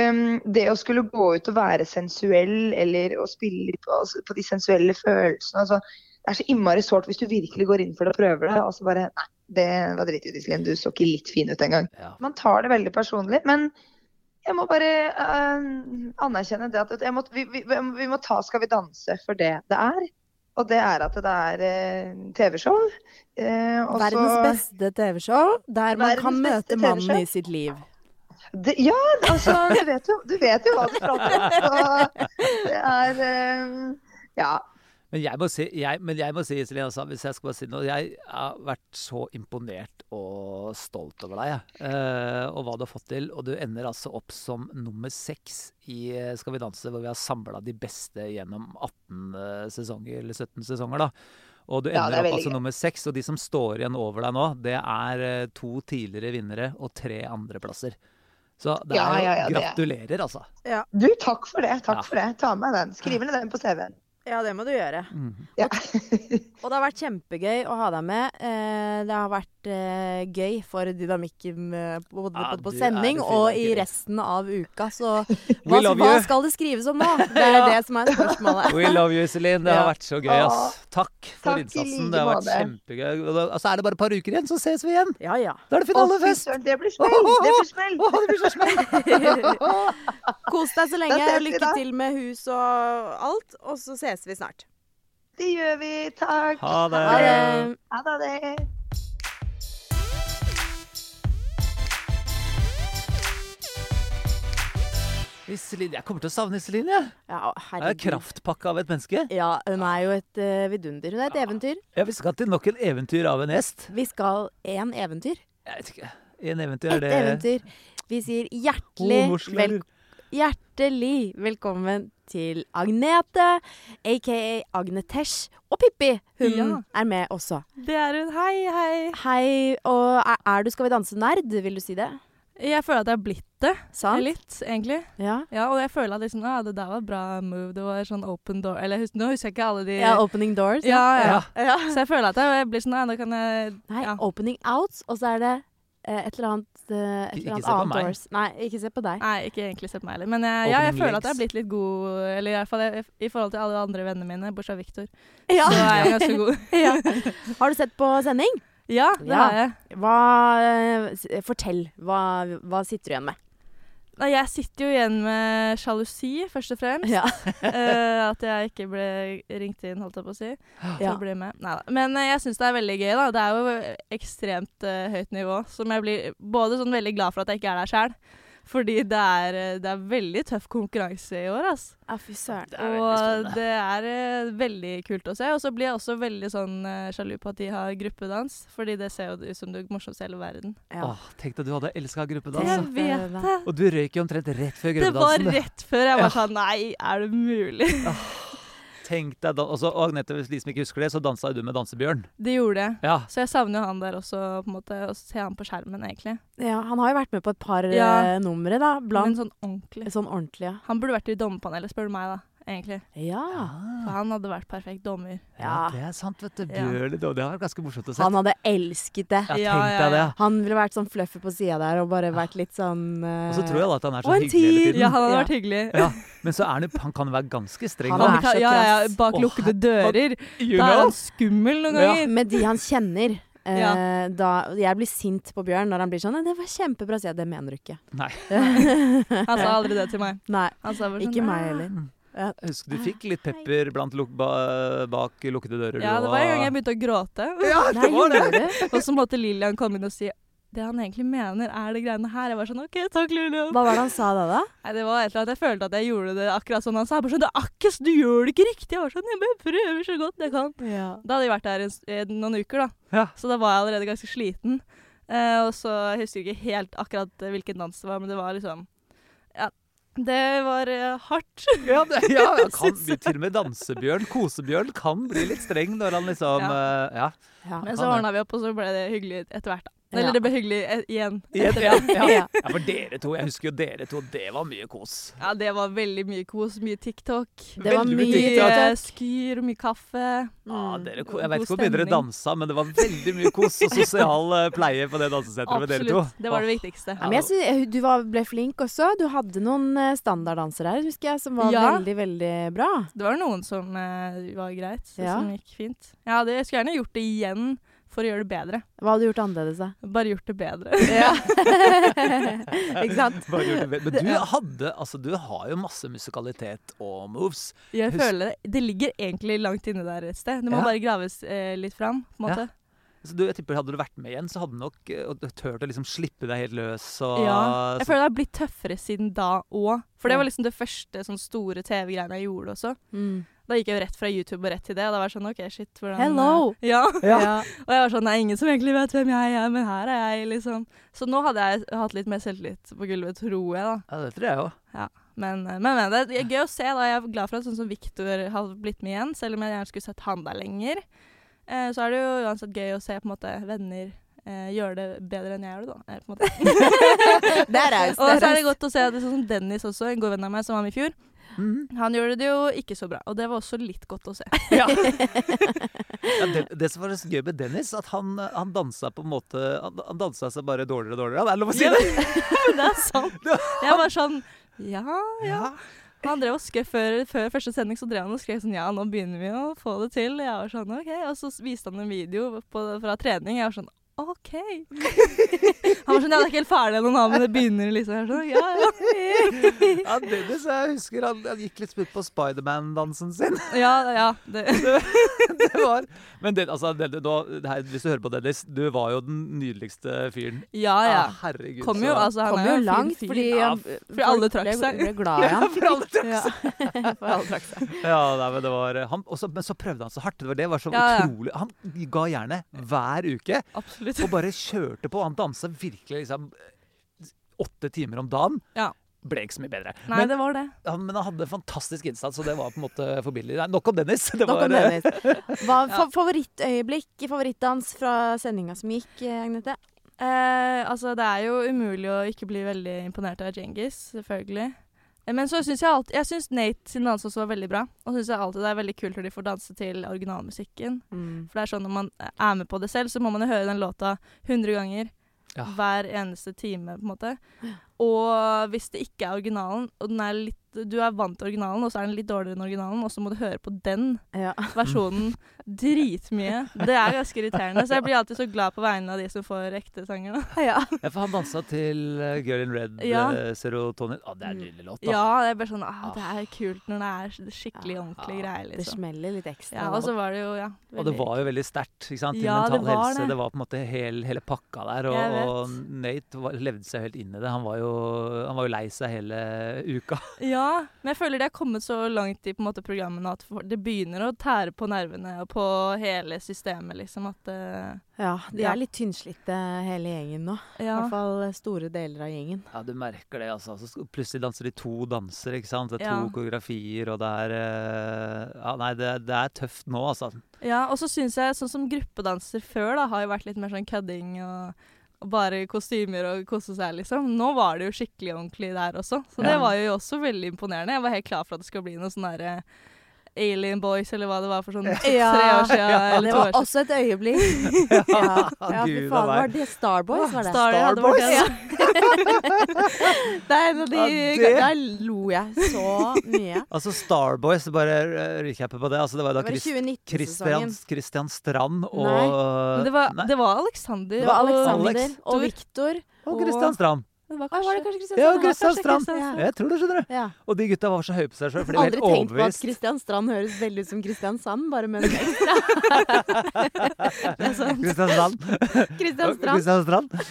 em, det å skulle gå ut og være sensuell, eller å spille litt på, altså, på de sensuelle følelsene. Altså, det er så innmari sårt hvis du virkelig går inn for det og prøver det. Og så bare Nei, det var drittig, Iselin. Du så ikke litt fin ut engang. Ja. Man tar det veldig personlig, men jeg må bare eh, anerkjenne det at jeg må, vi, vi, vi må ta Skal vi danse for det det er. Og det er at det er eh, TV-show. eh, og så- Verdens beste TV-show, der man Verdens kan beste møte mannen TV-show. i sitt liv. Det, ja, altså du vet, jo, du vet jo hva du prater om. Så det er eh, Ja. Men jeg må si, jeg, men jeg må si Iselin, altså, hvis jeg skal bare si noe Jeg har vært så imponert og stolt over deg, jeg. Eh, og hva du har fått til. Og du ender altså opp som nummer seks i eh, Skal vi danse, hvor vi har samla de beste gjennom 18 sesonger, eller 17 sesonger, da. Og du Ja, ender det er opp veldig altså gøy. nummer seks, og de som står igjen over deg nå, det er eh, to tidligere vinnere og tre andreplasser. Så det Ja, er jo ja, ja, det er- gratulerer, altså. Du, takk for det. Takk Ja. for det. Ta med den. Skriv ned den på CV-en. Ja, det må du gjøre. Mhm. Ja. Og det har vært kjempegøy å ha deg med. Eh, Det har vært eh, gøy for dynamikken eh, både Ja, på, på du er sending det fine, og i Gry. resten av uka, så We hva, love hva you. skal det skrives om nå? Det er det som er spørsmålet. We love you, Iselin. Det Ja. har vært så gøy. ass. Takk for Takk i innsatsen. like Det har vært måte. kjempegøy. Og da- Altså, er det bare et par uker igjen, så ses vi igjen! Ja, ja. Da er det Å, fy finalefest! søren, det blir smell! Det blir smell! Åh, det blir så smell! Kos deg så lenge. ses vi Lykke da. til med hus og alt. Og så ses vi snart. Det gjør vi. Takk. Ha det. Ha det. Ha det. Iselin, jeg kommer til å savne Iselin, jeg. Ja, Jeg er herregud. kraftpakke av et menneske. Ja, hun er jo et eh, vidunder. Hun er et eventyr. Ja, vi skal til nok en eventyr av en hest. Vi skal én eventyr. Jeg vet ikke. En eventyr, Et er det eventyr. Vi sier hjertelig, Åh, norsk vel, lærer. hjertelig velkommen til Agnete, aka Agnetesh. Og Pippi, hun Ja. er med også. Det er hun. Hei, hei. Hei, og er, er du Skal vi danse-nerd? Vil du si det? Jeg føler at jeg har blitt det. eh, Sant? Litt, egentlig. Ja. Ja, og jeg føler at liksom, ah, det der var bra move. Det var sånn open door. Eller hus nå husker jeg ikke alle de ja, Opening doors. Eh, ja, ja. Ja. Så jeg føler at jeg, jeg blir sånn ah, da kan jeg Nei, ja. Opening outs, og så er det eh, et eller annet, eh, et Ikke eller annet se på annet meg. doors. Nei, ikke se på deg. Nei, ikke egentlig se på meg heller. Men jeg, ja, jeg Opening føler at legs. jeg har blitt litt god, eller i, hvert fall, jeg, i forhold til alle de andre vennene mine, bortsett fra Victor. Ja. Så er jeg ganske god. ja. Har du sett på sending? Ja, det Ja. har jeg. Hva, eh, s- fortell. Hva, hva sitter du igjen med? Nei, jeg sitter jo igjen med sjalusi, først og fremst. Ja. Eh, at jeg ikke ble ringt inn, holdt jeg på å si. Ja. til å bli med. Neida. Men eh, jeg syns det er veldig gøy. da. Det er jo ekstremt eh, høyt nivå. Som jeg blir både sånn veldig glad for at jeg ikke er der sjøl, fordi det er, eh, det er veldig tøff konkurranse i år. ass. Ja, fy søren. Det er veldig Og spennende. det er eh, veldig kult å se. Og så blir jeg også veldig sånn eh, sjalu på at de har gruppedans, fordi det ser jo ut som det morsomste i hele verden. Ja. Åh, tenk deg at du hadde elska Det gruppedans. er- Jeg da. vet det! Og du røyk jo omtrent rett før Det var gruppedansen. rett før jeg Ja. var sånn Nei, er det mulig? Tenk deg da. Og så, og Agnete, hvis de som ikke husker det, så dansa jo du med Dansebjørn. Det gjorde jeg. Ja. Så jeg savner jo han der også, på en måte. Å se han på skjermen, egentlig. Ja, han har jo vært med på et par Ja. eh, numre, da. Men Blant sånn ordentlig. sånn ordentlig, ja. Han burde vært i dommerpanelet, spør du meg, da. egentlig. ja. For han hadde vært perfekt dommer. Ah, Ja, Ja. det er sant, vet du. Ja. Bjørn, det det har vært ganske morsomt å se. Han hadde elsket det. Ja, Ja, tenk ja, deg det. ja. Han ville vært sånn fluffy på sida der og bare vært litt sånn Og så tror jeg da at han er så Og en hyggelig hele tid. tiden. Ja, han hadde Ja. vært hyggelig. Ja, men så er han, jo- han kan være ganske streng. Han da. er Han kan, så ja, ja, ja, krass. bak Åh, lukkede dører. You Da er know? han skummel noen Ja. ganger. Med de han kjenner. eh, Ja. da, jeg blir sint på Bjørn når han blir sånn «Nei, 'Det var kjempebra', sier jeg. Det mener du ikke. Nei, Han sa aldri det til meg. Nei. Han sa bare sånn, Ikke meg «Ah». heller. jeg husker du fikk litt pepper blant luk ba bak lukkede dører. Ja, du, det var en og- gang jeg begynte å gråte. Ja, det var det! det. Og så måtte Lillian komme inn og si det han egentlig mener, er det greiene her. Jeg var sånn OK, takk, Lillian. Hva var det han sa da, da? Nei, det var et eller annet. Jeg følte at jeg gjorde det akkurat sånn han sa. Bare sånn, det er akkurat, du gjør det ikke riktig. Jeg var sånn, jeg bare prøver så godt jeg kan. Da hadde jeg vært der en, s- eh, noen uker, da. Ja. Så da var jeg allerede ganske sliten. Eh, og så jeg husker ikke helt akkurat eh, hvilken dans det var, men det var liksom ja, Det var eh, hardt. Ja, det, ja han kan bli til og med dansebjørn, kosebjørn, kan bli litt streng når han liksom eh, Ja. Ja. Men så han er- ordna vi opp, og så ble det hyggelig etter hvert. da. Ja. Eller det ble hyggelig eh, igjen. Ja, ja, ja. Ja. ja, for dere to, jeg husker jo dere to, det var mye kos. Ja, det var veldig mye kos. Mye TikTok. Det var Veldig mye mye Mye eh, TikTok. skyr, mye kaffe. Ja, Mm. dere, ko- god jeg vet ikke hvor mye dere stemning. dansa, men det var veldig mye kos og sosial eh, pleie på det dansesenteret med dere to. Absolutt. Det var det viktigste. Ja, men jeg synes, du var, ble flink også. Du hadde noen eh, standarddansere her, husker jeg, som var Ja. veldig, veldig bra. Det var noen som eh, var greit, så- Ja. som gikk fint. Jeg, hadde, jeg skulle gjerne gjort det igjen for å gjøre det bedre. Hva hadde du gjort annerledes, da? Bare gjort det bedre. Ja. ikke sant? Bare gjorde det bedre. Men du hadde Altså, du har jo masse musikalitet og moves. Jeg Husk- føler det. Det ligger egentlig langt inne der et sted. Det må Ja. bare graves eh, litt fram. på en Ja. måte. Så du, jeg tipper Hadde du vært med igjen, så hadde du nok eh, og turt å liksom slippe deg helt løs. Og, Ja, Jeg så, føler det har blitt tøffere siden da òg. For Ja. det var liksom det første sånn store TV-greiene jeg gjorde også. Mm. Da gikk jeg jo rett fra YouTube og rett til det. Og da var jeg sånn OK, shit, hvordan Hello! Ja. ja. Ja. Og jeg var sånn, det er ingen som egentlig vet hvem jeg er, men her er jeg, liksom. Så nå hadde jeg hatt litt mer selvtillit på gulvet, tror jeg, da. ja, det tror jeg jo. Men, men, men det er gøy å se, da. Jeg er glad for at sånn som Victor har blitt med igjen, selv om jeg gjerne skulle sett han der lenger. Eh, så er det jo uansett gøy å se på en måte venner eh, gjøre det bedre enn jeg gjør det, da. Eh, på en måte. Det er raust. Og så er raust. det godt å se at det er sånn som Dennis også, en god venn av meg som var med i fjor, Mhm. han gjorde det jo ikke så bra. Og det var også litt godt å se. Ja. ja, det, det som var så gøy med Dennis, at han, han dansa på en måte Han, han dansa seg bare dårligere og dårligere. Ja, Det er lov å si det! det er sant. Jeg var sånn ja, ja. Han drev og skrev før, før første sending så drev han og skrev sånn Ja, nå begynner vi å få det til. Jeg var sånn, ok. Og så viste han en video på, fra trening. Jeg var sånn OK. Han var sånn Ja, det er ikke helt ferdig ennå, nå, men det begynner liksom. Jeg var sånn, ja, Ja, Dennis, jeg husker han, han gikk litt sputt på Spiderman-dansen sin. ja. ja, ja det. Det var. Men det, altså, det, det, nå- det her, hvis du hører på Dennis, du var jo den nydeligste fyren. Ja, ja. Ah, herregud. Kom jo, så- altså. Han Kom er jo jo en fin langt, fyr. fordi Ja, han- fordi alle folk trakk ble- seg. Ble glad i ja, ham. for alle trakk Ja. seg. Ja, nei, men det var eh, han, også, Men så prøvde han så hardt. Det var, det var så Ja, ja. utrolig Han ga jernet hver uke Absolutt. og bare kjørte på. Han dansa virkelig liksom åtte timer om dagen. Ja. Ble ikke så mye bedre. Nei, det var det. han, men han hadde fantastisk innsats, og det var på en måte forbilledlig. Nei, Nok om Dennis. Det Nok var, eh, om Dennis. Hva, fa- favorittøyeblikk, favorittdans fra sendinga som gikk, eh, Agnete? Eh, altså, det er jo umulig å ikke bli veldig imponert av Djengis, selvfølgelig. Eh, Men så syns jeg alltid Jeg synes Nate sin dans også var veldig bra. Og syns jeg alltid det er veldig kult når de får danse til originalmusikken. For det er sånn når man er med på det selv, så må man jo høre den låta 100 ganger. Ja. Hver eneste time, på en måte. Og hvis det ikke er originalen, og den er litt Du er vant til originalen, og så er den litt dårligere enn originalen, og så må du høre på den Ja. versjonen dritmye. Det er ganske irriterende. Så jeg blir alltid så glad på vegne av de som får ekte sanger, da. Ja, for han dansa til eh, Girl in Red, Ja. eh, Serotonin. Å, det er en nydelig låt, da. Ja, det er bare sånn ah, Det er kult når det er sk- skikkelig Ja. ordentlig greier, Det liksom. smeller litt ekstra. Ja, altså- og så var det jo ja, Og det veldig- var jo veldig sterkt. ikke sant? I Ja, det mental var helse. det. Det var på en måte hel, hele pakka der. Og, Jeg vet. og Nate var, levde seg helt inn i det. Han var, jo, han var jo lei seg hele uka. Ja, men jeg føler det er kommet så langt i på en måte, programmet nå at for- det begynner å tære på nervene og på hele systemet, liksom. At eh, Ja, de Ja. er litt tynnslitte hele gjengen nå. I Ja. hvert fall store deler av gjengen. Ja, du merker det, altså. Så sk- plutselig danser de to danser, ikke sant. Det er Ja. to koreografier, og det er eh, Ja, nei, det, det er tøft nå, altså. ja og så syns jeg sånn som gruppedanser før, da, har jo vært litt mer sånn kødding og og bare kostymer og kose seg, liksom. Nå var det jo skikkelig ordentlig der også. Så det Ja. var jo også veldig imponerende. Jeg var helt klar for at det skulle bli noe sånn derre Alien Boys, eller hva det var for sånn tre år siden. det eller to år var siden. også et øyeblikk. Ja, ja fy Gud, faen. da, nei. Var det Starboys? Var det? Star- ja, det var det, Ja. det er en av de Ja, det- Der lo jeg så mye. Altså Starboys, bare eh, recappe på det. Altså, det var da Det var i Chris- 2019-sesongen. Christian, Christian Strand og Men det var, Nei, det var Alexander. Det var og- Alexander Alex. og Victor. og Christian Strand. Det var Oi, var det kanskje- kanskje Ja, Christian Christian kanskje Strand. Strand. Jeg tror det, skjønner du. Ja. Og de gutta var så høye på seg sjøl, for de var Aldri helt tenkt på at overbevist. Christian Strand høres veldig ut som Kristiansand, bare med en Christian Strand. Kristian Strand. Christian Strand.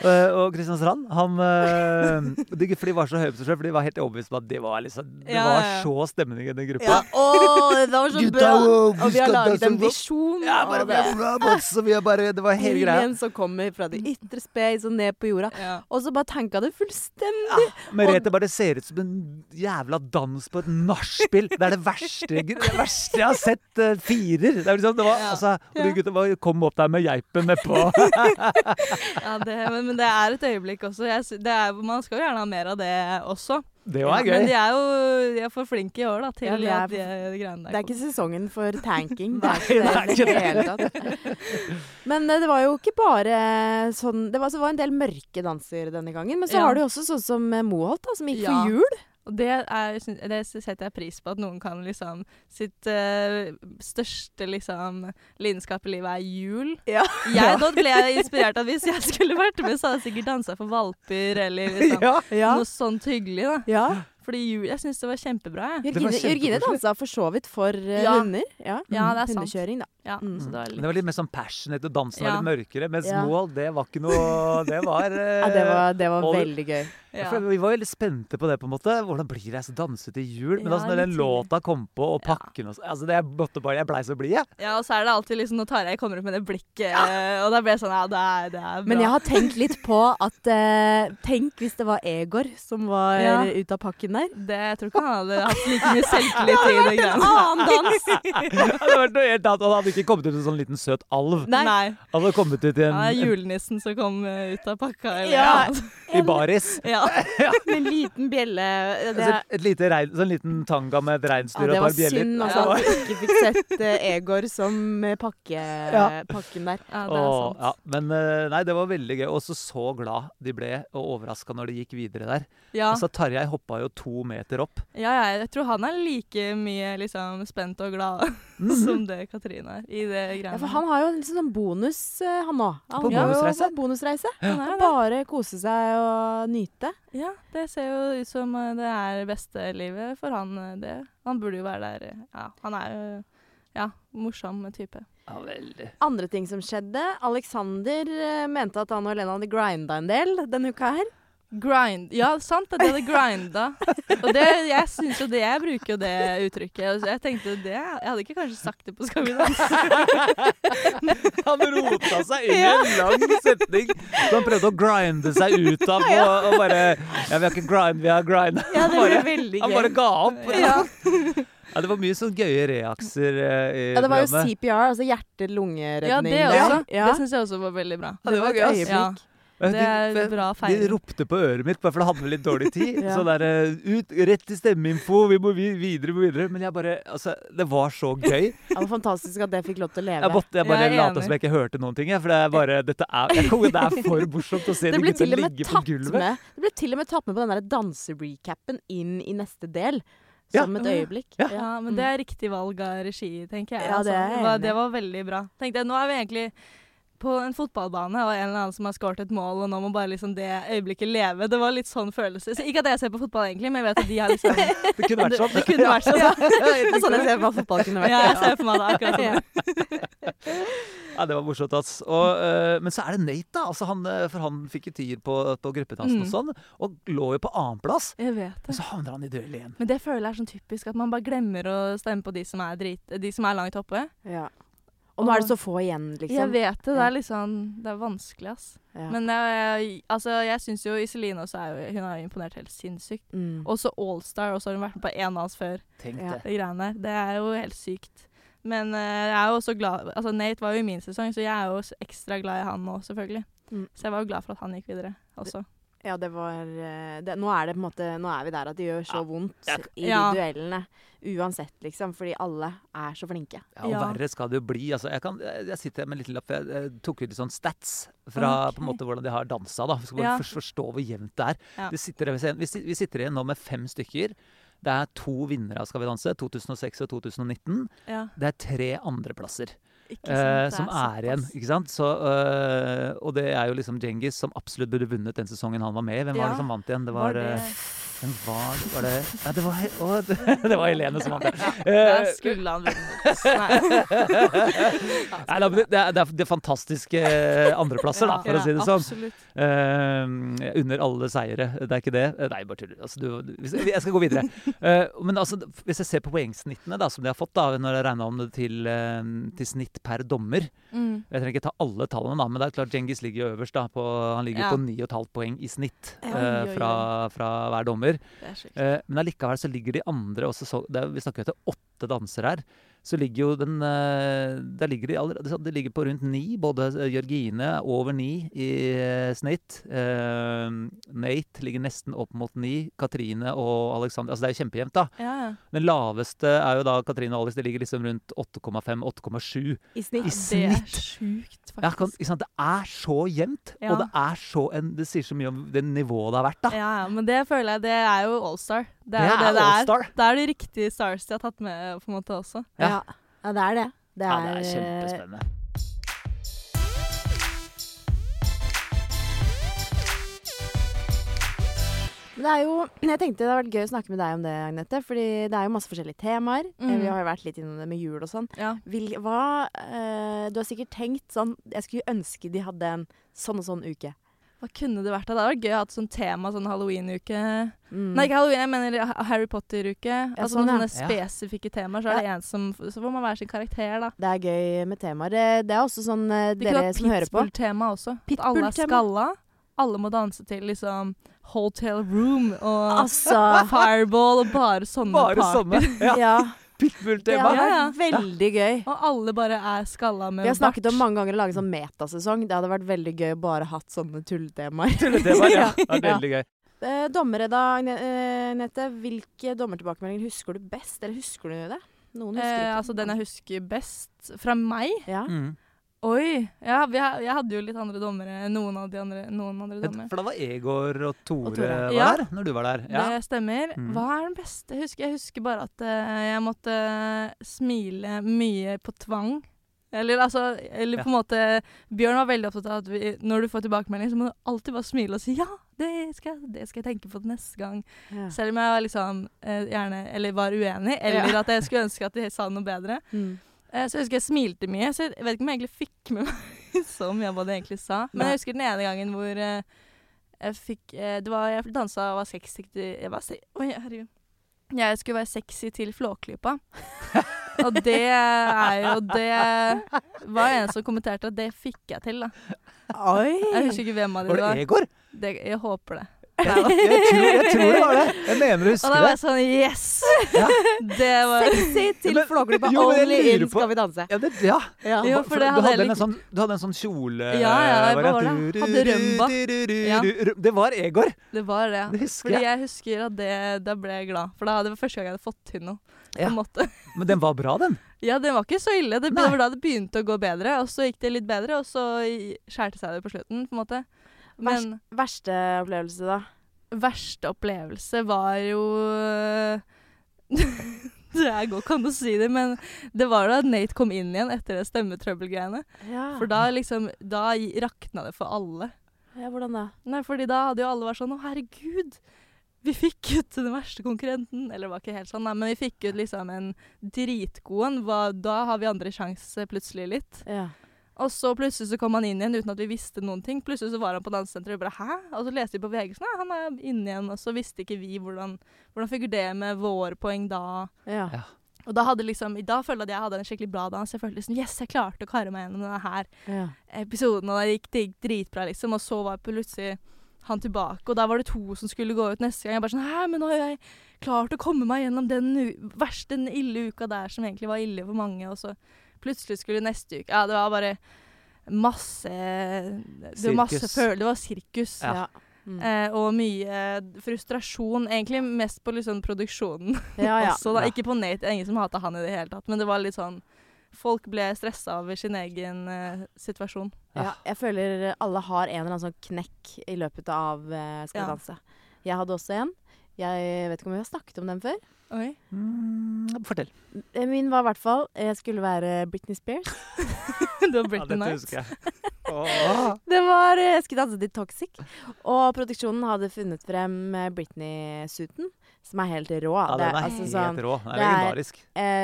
Eh, og Kristiansand, han eh, det, For de var så høye på seg selv, for de var helt overbevist om at det var, liksom, det Ja, var ja, ja. så stemning i den gruppa. Ja, å, det var så Gutta, bra! wow, vi Og vi har skal laget danse en rock. visjon. Ja, bare, og det er vi er robots, og vi er bare, det var hele greia. Alien som kommer fra det ytre space og ned på jorda. Ja. Og så bare tanka det fullstendig. Merete bare ser ut som en jævla dans på et nachspiel. Det er det verste, det verste jeg har sett. eh, firer. Det er liksom, det var, Ja. altså, og de gutta bare kom opp der med geipen nedpå. Ja, det, men, men det er et øyeblikk også. Jeg, sy- det er, man skal jo gjerne ha mer av det også. Det var Men gøy. de er jo de er for flinke i år da, til Ja, vi er at de, de greiene der. Det er ikke sesongen for tanking. Det Nei, er ikke det, det er i det hele tatt. Men eh, det var jo ikke bare sånn Det var, så var en del mørke danser denne gangen. Men så Ja. har du jo også sånn som eh, Moholt, da, som gikk Ja. for jul. Og det, er, syn- det setter jeg pris på, at noen kan liksom Sitt eh, største liksom lidenskap i livet er jul. Ja. Jeg, da ble jeg inspirert av at hvis jeg skulle vært med, så hadde jeg sikkert dansa for valper eller liksom, Ja, Ja. noe sånt hyggelig. da. ja. Fordi jul Jeg syns det var kjempebra, jeg. Det var Jørgine, Jørgine kjempekoselig. dansa for så vidt for eh, Ja. hunder. Ja. Ja, det er sant. Hundekjøring, da. Ja, Mm. så det var Men det var litt mer sånn passionate, og dansen var Ja. litt mørkere. Mens Ja. Moholt, det var ikke noe Det var, eh, Ja, det var, det var og- veldig gøy. ja. For vi var veldig spente på det. på en måte Hvordan blir det å danse til jul? Men Ja, altså, når den litt tidlig. låta kom på, og Ja. pakken og så, altså, det, jeg, måtte bare, jeg blei så blid, jeg. ja, og så er det alltid liksom Når Tarjei kommer opp med det blikket, og da ble jeg sånn Ja, det er, det er bra. Men jeg har tenkt litt på at eh, Tenk hvis det var Egor som var Ja. ute av pakken der. det, jeg tror ikke han hadde hatt like mye selvtillit i det greiene. Annen dans! Det hadde vært noe helt annet, og det hadde ikke kommet ut en sånn liten søt alv. Nei. Nei. Han hadde kommet ut i en, Ja, det er julenissen som kom eh, ut av pakka, eller Ja. noe sånt. i baris. Ja. Med en liten bjelle. Altså, et, et lite rein, sånn liten tanga med et Ja, det reinsdyr og et var par bjeller. synd altså, Ja. at vi ikke fikk sett eh, Egor som eh, pakke, pakken der. ja, det er Åh, sant. ja. Men eh, nei, det var veldig gøy. Og så så glad de ble, og overraska når de gikk videre der. Ja. Altså, Tarjei hoppa jo to meter opp. ja, ja, jeg tror han er like mye liksom, spent og glad som det Katrine er i det Mm. Ja, greiene. for han har jo en liksom sånn bonus, eh, han òg. Han På må jo bonusreise? på bonusreise. Han er Han det. bare kose seg og nyte. Ja, det ser jo ut som eh, det er beste livet for han. eh, Det. Han burde jo være der. eh, Ja, han er jo ja, morsom type. Ja, veldig. Andre ting som skjedde. Alexander eh, mente at han og Helena hadde grinda en del denne uka her. Grind. Ja, sant at de hadde grinda. Og det, jeg synes jo det, jeg bruker jo det uttrykket. og Så jeg tenkte det, jeg hadde ikke kanskje sagt det på Skal vi danse. Han rota seg inn i en lang setning. Så han prøvde å grinde seg ut av og, og bare Ja, vi har ikke grind, vi har grind. Ja, det ble Bare- veldig Han gøy. bare ga opp. Ja, Ja. det var mye sånn gøye reakser eh, i Ja, det var jo programmet. CPR, altså hjerte-lungeredning. Ja, det også. Ja. Det syns jeg også var veldig bra. Ja, det var et gøy, ass. øyeblikk. Ja. Ja, Det er de- bra De feiring. ropte på øret mitt, bare for det hadde vi litt dårlig tid. Ja. Så der, eh, ut, rett til stemmeinfo, vi må vi videre, vi må videre. Men jeg bare, altså, det var så gøy. Det var fantastisk at det fikk lov til å Jeg, leve. måtte, jeg bare Jeg er lot enig. som jeg ikke hørte noen ting, jeg, for det er bare, dette er, jeg kommer, det er for morsomt å se Det de ble, gutta til og med ligge på tatt gulvet. med, det ble til og med tatt med på den der danserecapen inn i neste del. Ja. Som et øyeblikk. Ja. Ja, men det er riktig valg av regi, tenker jeg. mm. Ja, altså. det er jeg det, var, enig i. det var veldig bra. Tenkte jeg, Nå er vi egentlig på en fotballbane, og en eller annen som har skåret et mål, og nå må bare liksom det øyeblikket leve. Det var litt sånn følelse. Så ikke at jeg ser på fotball egentlig, men jeg vet at de har liksom Det, Det kunne vært sånn. det kunne vært sånn. Det er sånn jeg ser på at fotball kunne vært. Ja, jeg ser for meg det akkurat sånn. Ja, det var morsomt, ass. Og, eh, men så er det Nate, da. Altså, han, eh, for han fikk jo tier på, på gruppedansen Mm. og sånn, og lå jo på annenplass. Jeg vet Men det. så havner han i duell igjen. Men det føler jeg er sånn typisk, at man bare glemmer å stemme på de som er, drit, de som er langt oppe. Ja. Og nå er det så få igjen, Jeg liksom. vet det. Det Ja. er liksom Det er vanskelig, ass. Ja. Men jeg, altså, jeg syns jo Iselin også er jo Hun har jo imponert helt sinnssykt. Mm. Også Allstar, og så har hun vært med på én av oss før. Tenk Ja. det. Det greiene der. Det er jo helt sykt. Men eh, jeg er jo også glad Altså, Nate var jo i min sesong, så jeg er jo s- ekstra glad i han nå, selvfølgelig. Mm. Så jeg var jo glad for at han gikk videre også. Ja, det var eh, det, Nå er det på en måte Nå er vi der at det gjør så vondt Jeg- i Ja. duellene. Uansett, liksom. Fordi alle er så flinke. Ja, og Ja. verre skal det jo bli. Altså, jeg, kan, jeg jeg sitter her med en liten lapp, jeg, jeg tok ut litt sånn stats fra på en måte hvordan de har dansa. Da. Så skal man Ja. først forstå hvor jevnt det er. Ja. Det sitter, vi ser- vi sit- vi sitter igjen nå med fem stykker. Det er to vinnere av Skal vi danse, 2006 og 2019. Ja, Det er tre andreplasser ikke sant? eh, Det som er igjen. såpass. ikke sant? Så, eh, og det er jo liksom Djengis som absolutt burde vunnet den sesongen han var med i. Hvem var Ja. det som vant igjen? Det var, Var det- eh, Hvem var det? Var det, ja, det, var, He- å, det, det var Helene som vant det. Der Eh, skulle han vunnet. Nei. nei, da, men det, det, er, det er- det er fantastiske andreplasser, da, for å si det sånn. Absolutt. Eh, under alle seire. Det er ikke det? Eh, Nei, bare tuller. Altså, du, hvis, jeg skal gå videre. Eh, men altså, hvis jeg ser på poengsnittene da, som de har fått, da, når jeg regna om det til, eh, til snitt per dommer Mm. Jeg trenger ikke ta alle tallene, da, men det er klart Djengis ligger jo øverst. da, på, Han ligger Ja. på 9,5 poeng i snitt Oi, eh, oi, fra, fra hver dommer. Det er sjukt. Eh, men allikevel så ligger de andre også så, det er, Vi snakker jo etter åtte danser her. Så ligger jo den eh, Der ligger de allerede så Det ligger på rundt ni. Både eh, Jørgine er over ni i eh, snitt. Eh, Nate ligger nesten opp mot ni. Katrine og Alexander Altså det er jo kjempejevnt, da. Ja, ja. Den laveste er jo da Katrine og Alex. De ligger liksom rundt 8,5-8,7. I snitt. I Det er snitt. sjukt, Ja, kan, faktisk. ikke sant? Det er så jevnt, Ja. og det er så en, Det sier så mye om det nivået det har vært, da. Ja, ja, men det føler jeg, det er jo Allstar. Det er Det jo det er det er. All-Star. Det er de riktige stars de har tatt med, på en måte, også. Ja. Ja. ja, det er det. Det Ja, er, det er eh, kjempespennende. Men Det er jo, jeg tenkte det hadde vært gøy å snakke med deg om det, Agnete. Fordi det er jo masse forskjellige temaer. Eh, Mm. Vi har jo vært litt innom det med jul og sånn. Ja. Vil, hva, eh, du har sikkert tenkt sånn Jeg skulle ønske de hadde en sånn og sånn uke. Hva kunne det vært? da? Det hadde vært gøy å ha et sånt tema, sånn halloween-uke. Mm. Nei, ikke halloween, jeg mener Ha- Harry Potter-uke. altså sånn, med ja. sånne spesifikke temaer, så er det en som Så får man være sin karakter, da. Det er gøy med temaer. Eh, Det er også sånn eh, Det kunne dere vært som hører på. pitbull-tema også. At alle er Pitbull-tema. skalla. Alle må danse til liksom Hotel Room og Altså Fireball og bare sånne Bare party. sånne. Ja, Ja. Det Pitbull-tema. hadde Ja, ja. vært veldig gøy. Og alle bare er skalla med Vi har snakket bart. om mange ganger å lage sånn metasesong. Det hadde vært veldig gøy å bare hatt sånne tulletemaer. Tulletema, ja. Det er Ja. veldig gøy. Eh, dommere, da, Agne- eh, Agnete. Hvilke dommertilbakemeldinger husker du best? Eller husker du det? Noen husker Eh, ikke. altså, den jeg husker best fra meg ja. Mm. Oi! Ja, vi, har- jeg hadde jo litt andre dommere enn noen av de andre, noen andre dommere. For da var Egor og Tore, Og Tore. var Ja. der når du var der. Ja. Det stemmer. Mm. Hva er den beste? Jeg husker, jeg husker bare at eh, jeg måtte eh, smile mye på tvang. Eller altså eller Ja. på en måte Bjørn var veldig opptatt av at vi, når du får tilbakemelding, så må du alltid bare smile og si ja, det skal, jeg- det skal jeg tenke på til neste gang. Mm. Ja. Selv om jeg var liksom eh, gjerne Eller var uenig, eller at jeg skulle ønske at de sa noe bedre. Mm. Eh, Så jeg husker jeg smilte mye, så jeg vet ikke om jeg egentlig fikk med meg så mye av hva det egentlig sa. Men Nei. jeg husker den ene gangen hvor eh, jeg fikk eh, Det var Jeg dansa og var sexy til Jeg var se Oi, herregud. Jeg skulle være sexy til Flåklypa. og det er jo Det var en som kommenterte at det fikk jeg til, da. Jeg Oi! husker ikke hvem av de Var det det var. Egor? Det, jeg håper det. Jeg, jeg, tror, jeg tror det var det. Jeg mener å Og da huske var det. jeg sånn Yes! Ja. Det var Sexy til Men- Flåklypa, Jo, men jeg only lurer in på- Skal vi danse. Ja, det, ja. Ja. Jo, for For det du, hadde hadde jeg en litt- sånn, du hadde en sånn kjole Ja, ja, jeg variant. var det. Hadde rumba. Ja. Det var Egor. Det var det. Det husker Fordi jeg. jeg husker at det, da ble jeg glad. For da, det var første gang jeg hadde fått til noe. På Ja. en måte. Men den var bra, den. Ja, det var ikke så ille. Det, det Nei. var da det begynte å gå bedre, og så gikk det litt bedre, og så i- skjærte seg det på slutten, på en måte. Men Verste opplevelse, da? verste opplevelse var jo øh, Det er godt kan du si det, men det var da Nate kom inn igjen etter det stemmetrøbbelgreiene. For da liksom Da gi- rakna det for alle. ja, hvordan da? Nei, fordi da hadde jo alle vært sånn Å, herregud! Vi fikk ut den verste konkurrenten. Eller det var ikke helt sånn, nei, men vi fikk ut liksom en dritgod en. Hva- Da har vi andre sjanse plutselig litt. Ja. Og så plutselig så kom han inn igjen uten at vi visste noen ting. Plutselig så var han på dansesenteret og vi bare hæ? Og så leste vi på VG sånn, «Nei, han er inne igjen. Og så visste ikke vi hvordan, hvordan fikk det med våre poeng da. ja. Ja. Og da hadde liksom, i dag følte jeg at jeg hadde en skikkelig bra dans. Jeg følte liksom yes, jeg klarte å karre meg gjennom denne her ja. episoden. Og det gikk, det gikk dritbra liksom. Og så var plutselig han tilbake, og da var det to som skulle gå ut neste gang. Jeg bare sånn hæ, men nå har jeg klart å komme meg gjennom den u- verste, den ille uka der som egentlig var ille for mange. Og så plutselig skulle neste uke Ja, det var bare masse Det var masse Sirkus. følelser. Det var sirkus. Ja. Mm. Eh, og mye frustrasjon. Egentlig mest på liksom produksjonen ja, ja. også. Da. Ja. Ikke på Nate, det er ingen som hata han i det hele tatt. Men det var litt sånn Folk ble stressa over sin egen eh, situasjon. ja. Jeg føler alle har en eller annen sånn knekk i løpet av eh, Skal vi Ja. danse. Jeg hadde også en. Jeg vet ikke om vi har snakket om den før. Oi. Mm, fortell. Eh, Min var i hvert fall Jeg skulle eh, være Britney Spears. det Ja, var Britney dette Nights. husker jeg. Åh. Det var eh, Jeg skulle danse til Toxic. Og produksjonen hadde funnet frem eh, Britney-suiten, som er helt rå. Ja, Det den er er altså helt sånn, rå. Den er det er- legendarisk.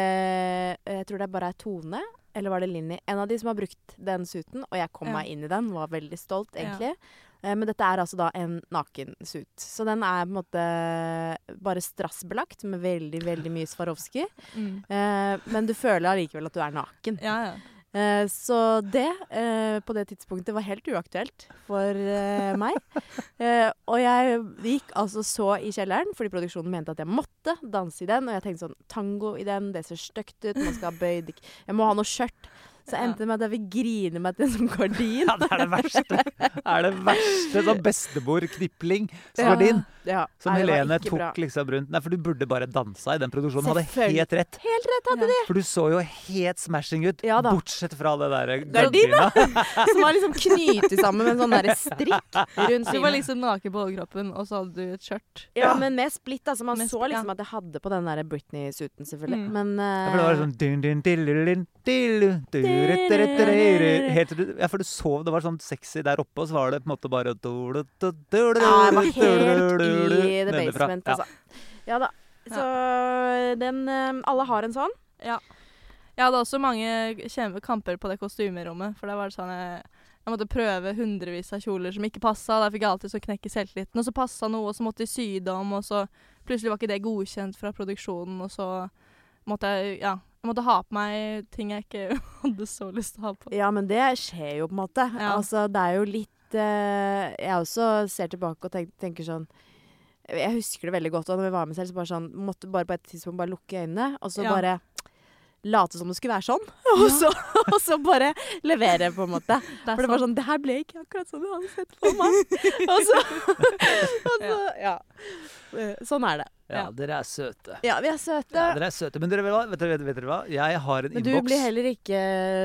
eh, Jeg tror det bare er Tone, eller var det Linni? En av de som har brukt den suiten, og jeg kom Ja. meg inn i den. Var veldig stolt, Ja. egentlig. Eh, Men dette er altså da en nakensuit. Så den er på en måte bare strassbelagt med veldig, veldig mye Swarovski. Mm. Eh, Men du føler allikevel at du er naken. Ja, ja. Eh, Så det, eh, på det tidspunktet, var helt uaktuelt for eh, meg. Eh, og jeg gikk altså så i kjelleren, fordi produksjonen mente at jeg måtte danse i den. Og jeg tenkte sånn Tango i den, det ser stygt ut, man skal ha bøyd Jeg må ha noe skjørt. Så Ja. endte det med at jeg vil grine meg til en sånn gardin. Ja, det er det verste. Det er det verste sånn bestemor-knipling. Skardin. Ja, Som nei, det var Helene ikke tok bra. liksom rundt. Nei, for du burde bare dansa i den produksjonen. Hadde Selvfølgelig. helt rett. Helt rett hadde de! For du så jo helt smashing ut. Ja da. bortsett fra det derre Gardina. gardina. Som var liksom knyttet sammen med en sånn derre strikk rundt Du var synet. liksom naken på overkroppen, og så hadde du et skjørt. Ja, men med splitt, altså. Man Med så splitt, ja. liksom at jeg hadde på den der Britney-suiten, selvfølgelig. Mm. Men Ja, for det var eh, sånn dun, dun, dillulun, dillu, duru, duru, duru, helt til du- Ja, for du sov, det var sånn sexy der oppe, og så var det på en måte bare dulu, du, dulu, Ja, jeg var dulu, helt dulu, i the nedenfra. basement, Ja. altså. Ja da. Så den eh, Alle har en sånn. Jeg hadde også mange kjempe kamper på det kostymerommet, for da var det sånn jeg, jeg måtte prøve hundrevis av kjoler som ikke passa. Da fikk jeg alltid så knekk i selvtilliten. Og så passa noe, og så måtte de sy det om, og så plutselig var ikke det godkjent fra produksjonen, og så måtte jeg Ja. Jeg måtte ha på meg ting jeg ikke hadde så lyst til å ha på. Ja, men det skjer jo på en måte. Ja. Altså, det er jo litt eh, Jeg også ser tilbake og tenk, tenker sånn Jeg husker det veldig godt. Og når vi var med selv, så bare sånn Måtte bare på et tidspunkt bare lukke øynene, og så Ja. bare late som det skulle være sånn. Og så, og så bare levere, på en måte. er For det var sånn Det her ble ikke akkurat sånn jeg hadde sett for meg. og så, og så ja. Eh, Sånn er det. Ja, dere er søte. Ja, vi er søte. Ja, dere er søte. Men dere vet, hva- vet, dere, vet dere hva? Jeg har en Men du blir innboks. heller ikke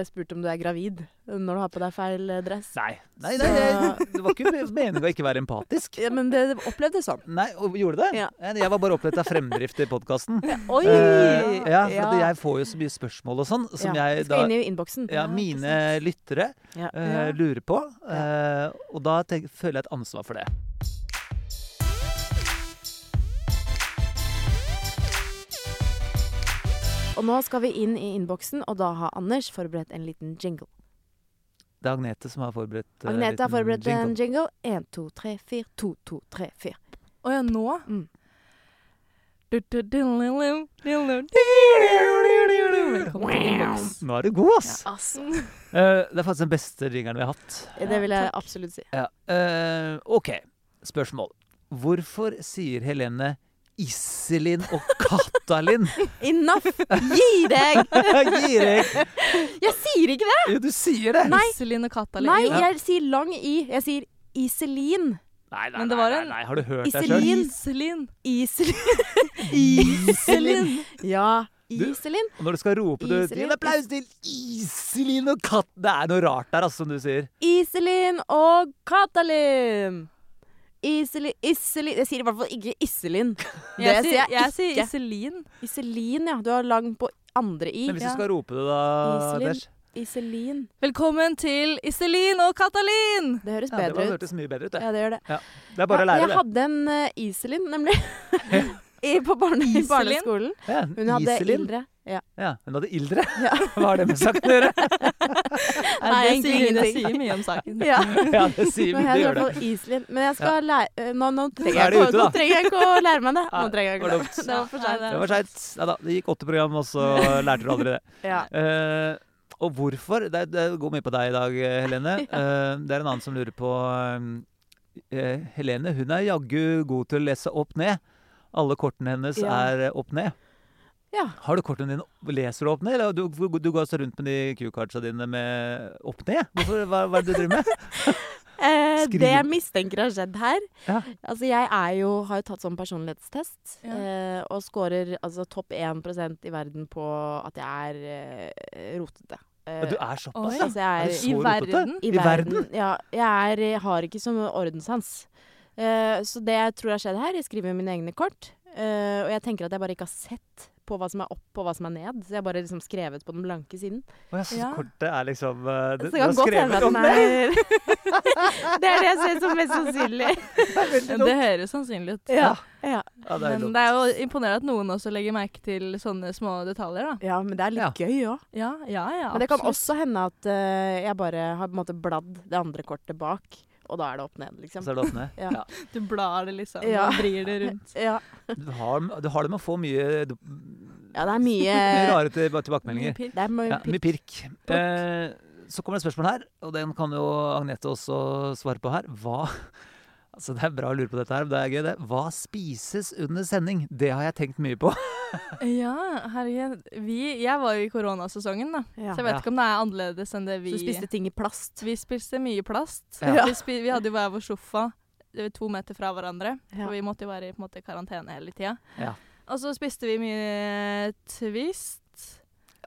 spurt om du er gravid når du har på deg feil eh, dress. Nei, nei, nei, jeg- det var ikke meninga å ikke være empatisk. Ja, men det det opplevdes sånn. Nei, og gjorde det? Eh, Ja. Jeg var bare opptatt av fremdrift i podkasten. Oi! Eh, ja, for at Ja. jeg får jo så mye spørsmål og sånn, som Ja, jeg Skal da inn i innboksen. ja, mine lyttere Ja. eh, Ja. lurer på. eh, og da tenk, føler jeg et ansvar for det. Og nå skal vi inn i innboksen, og da har Anders forberedt en liten jingle. Det er Agnete som har forberedt eh, Agnete har liten forberedt en jingle. jingle. 1, 2, 3, 4. 2, 2, 3, 4. Å ja, nå? Mm. Velkommen til innboks. Nå er du god, ass! Altså, Eh, det er faktisk den beste jingelen vi har hatt. det vil jeg absolutt si. Ja. eh, OK, spørsmål. Hvorfor sier Helene Iselin og Katalin? Enough! Gi deg! Gi deg! Jeg sier ikke det! Jo, du sier det! Nei. Iselin og Katalin. Nei, Jo. jeg sier lang i. Jeg sier Iselin. Nei, nei, Men det nei, var nei, en- nei. Har du hørt deg sjøl? Iselin. Iselin. Iselin. Iselin! Ja, Du- Iselin. Og når du skal rope du, Iselin. Gi en applaus til Iselin og Katt Det er noe rart der, altså, som du sier. Iselin og Katalin. Iselin Iselin Jeg sier i hvert fall ikke Iselin. Det Jeg sier jeg jeg sier ikke. Iselin. Iselin, ja. Du har lang på andre i. Men hvis Ja. du skal rope det, da Iselin. Anders? Iselin. Velkommen til Iselin og Katalin! Det høres Ja, det bedre var- ut. hørtes mye bedre ut, det. Ja, det gjør det. Det er bare å Ja, lære jeg det. hadde en eh, Iselin, nemlig. I, på barne, i Iselin? barneskolen. Ja, Hun hadde Iselin. ildre. Ja. Ja, hun hadde ildre. Hva har det med saken å gjøre? Nei, det, egentlig sier, det ingenting. sier mye om saken. ja. Ja, det sier Nå mye. heter det Det i hvert gjør det. fall Iselin. Men jeg skal lære eh, Nå, nå, trenger, er jeg det ikke, nå ute, da. trenger jeg ikke å lære meg det. Nå Nei, trenger jeg var ikke dumt. det. Det var for seint. Det var seint. Ja da, det gikk åtte program, og så lærte du aldri det. Ja. Eh, og hvorfor? Det, det går mye på deg i dag, eh, Helene. Eh, det er en annen som lurer på eh, Helene hun er jaggu god til å lese opp ned. Alle kortene hennes Ja. er eh, opp ned. Ja. Har du kortene dine Leser du opp ned? Eller du, du, du går altså rundt med de Q-cardsa dine med opp ned? Hvorfor, hva, hva er det du driver med? Eh, Skriv. det jeg mistenker har skjedd her Ja. Altså, jeg er jo, har jo tatt sånn personlighetstest, Ja. eh, og scorer altså, topp 1 i verden på at jeg er eh, rotete. Eh, Du er såpass, Oi. ja. altså, jeg Er du er så I rotete? verden? i, verden. Ja, jeg er, jeg har ikke sånn ordenssans. Eh, så det jeg tror har skjedd her, jeg skriver mine egne kort, eh, og jeg tenker at jeg bare ikke har sett på hva som er opp og hva som er ned. Så jeg har bare liksom skrevet på den blanke siden. Og jeg syns Ja. kortet er liksom eh, Så det- det du har kan godt skrevet hende at om den er Det er det jeg ser som mest sannsynlig. Det høres sannsynlig ut. Ja. Ja. Ja, det er Men dumt. det er jo imponerende at noen også legger merke til sånne små detaljer, da. ja, men det er litt gøy òg. Ja, ja, ja. Men det kan absolutt. også hende at eh, jeg bare har på en måte bladd det andre kortet bak, og da er det opp ned, liksom. Så er det åpne. Ja. Ja. Du blar det liksom, Ja. og vrir det rundt. Ja. Du, har, du har det med å få mye, du- ja, det er mye mye rare til- tilbakemeldinger. Pirk. Det er Eh, mye Ja, mye pirk. Eh, så kommer det et spørsmål her, og den kan jo Agnete også svare på her. Hva Altså Det er bra å lure på dette her, men det er gøy, det. Hva spises under sending? Det har jeg tenkt mye på. Ja, herregud. Vi, jeg var jo i koronasesongen, da. Ja. Så jeg vet Ja. ikke om det er annerledes enn det vi Så du spiste ting i plast. Vi spiste mye plast. Ja. Vi, spi vi hadde jo hver vår sofa eh, to meter fra hverandre. Ja. For vi måtte jo være i på en måte, karantene hele tida. Ja. Og så spiste vi mye Twist.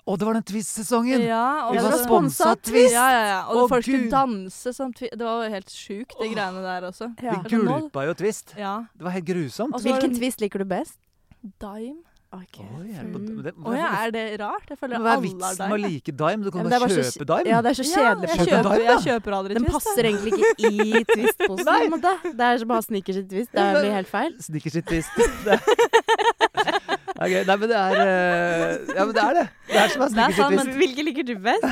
Å, det var den Twist-sesongen! Ja, og Vi det var var så- sponsa av sponset Twist! Ja, ja, ja. Og Å, folk skulle Gud. danse som Twist. Det var jo helt sjukt, de greiene der også. Ja. Vi gulpa jo Twist. Ja. Det var helt grusomt. Og så var det Hvilken twist liker du best? Dime. Okay. Oi, er det- Mm. det- Å ja, er det rart? Jeg føler Men Hva er alle har vitsen med å dime. like Dime? Du kan Ja, men jo bare det er bare kjøpe så Dime. Ja, det er så kjedelig. jeg Kjøper du kjøper, Dime, jeg da? kjøper aldri Den Twist. da. passer egentlig ikke i twist på en Nei. måte. Det er som å ha sneakers i twist. Det blir helt feil. Snickers i twist. Det er gøy. Nei, men det er eh, Ja, men det er det. Det er som er Det er Snickers i sant, twist. men- Hvilke liker du best?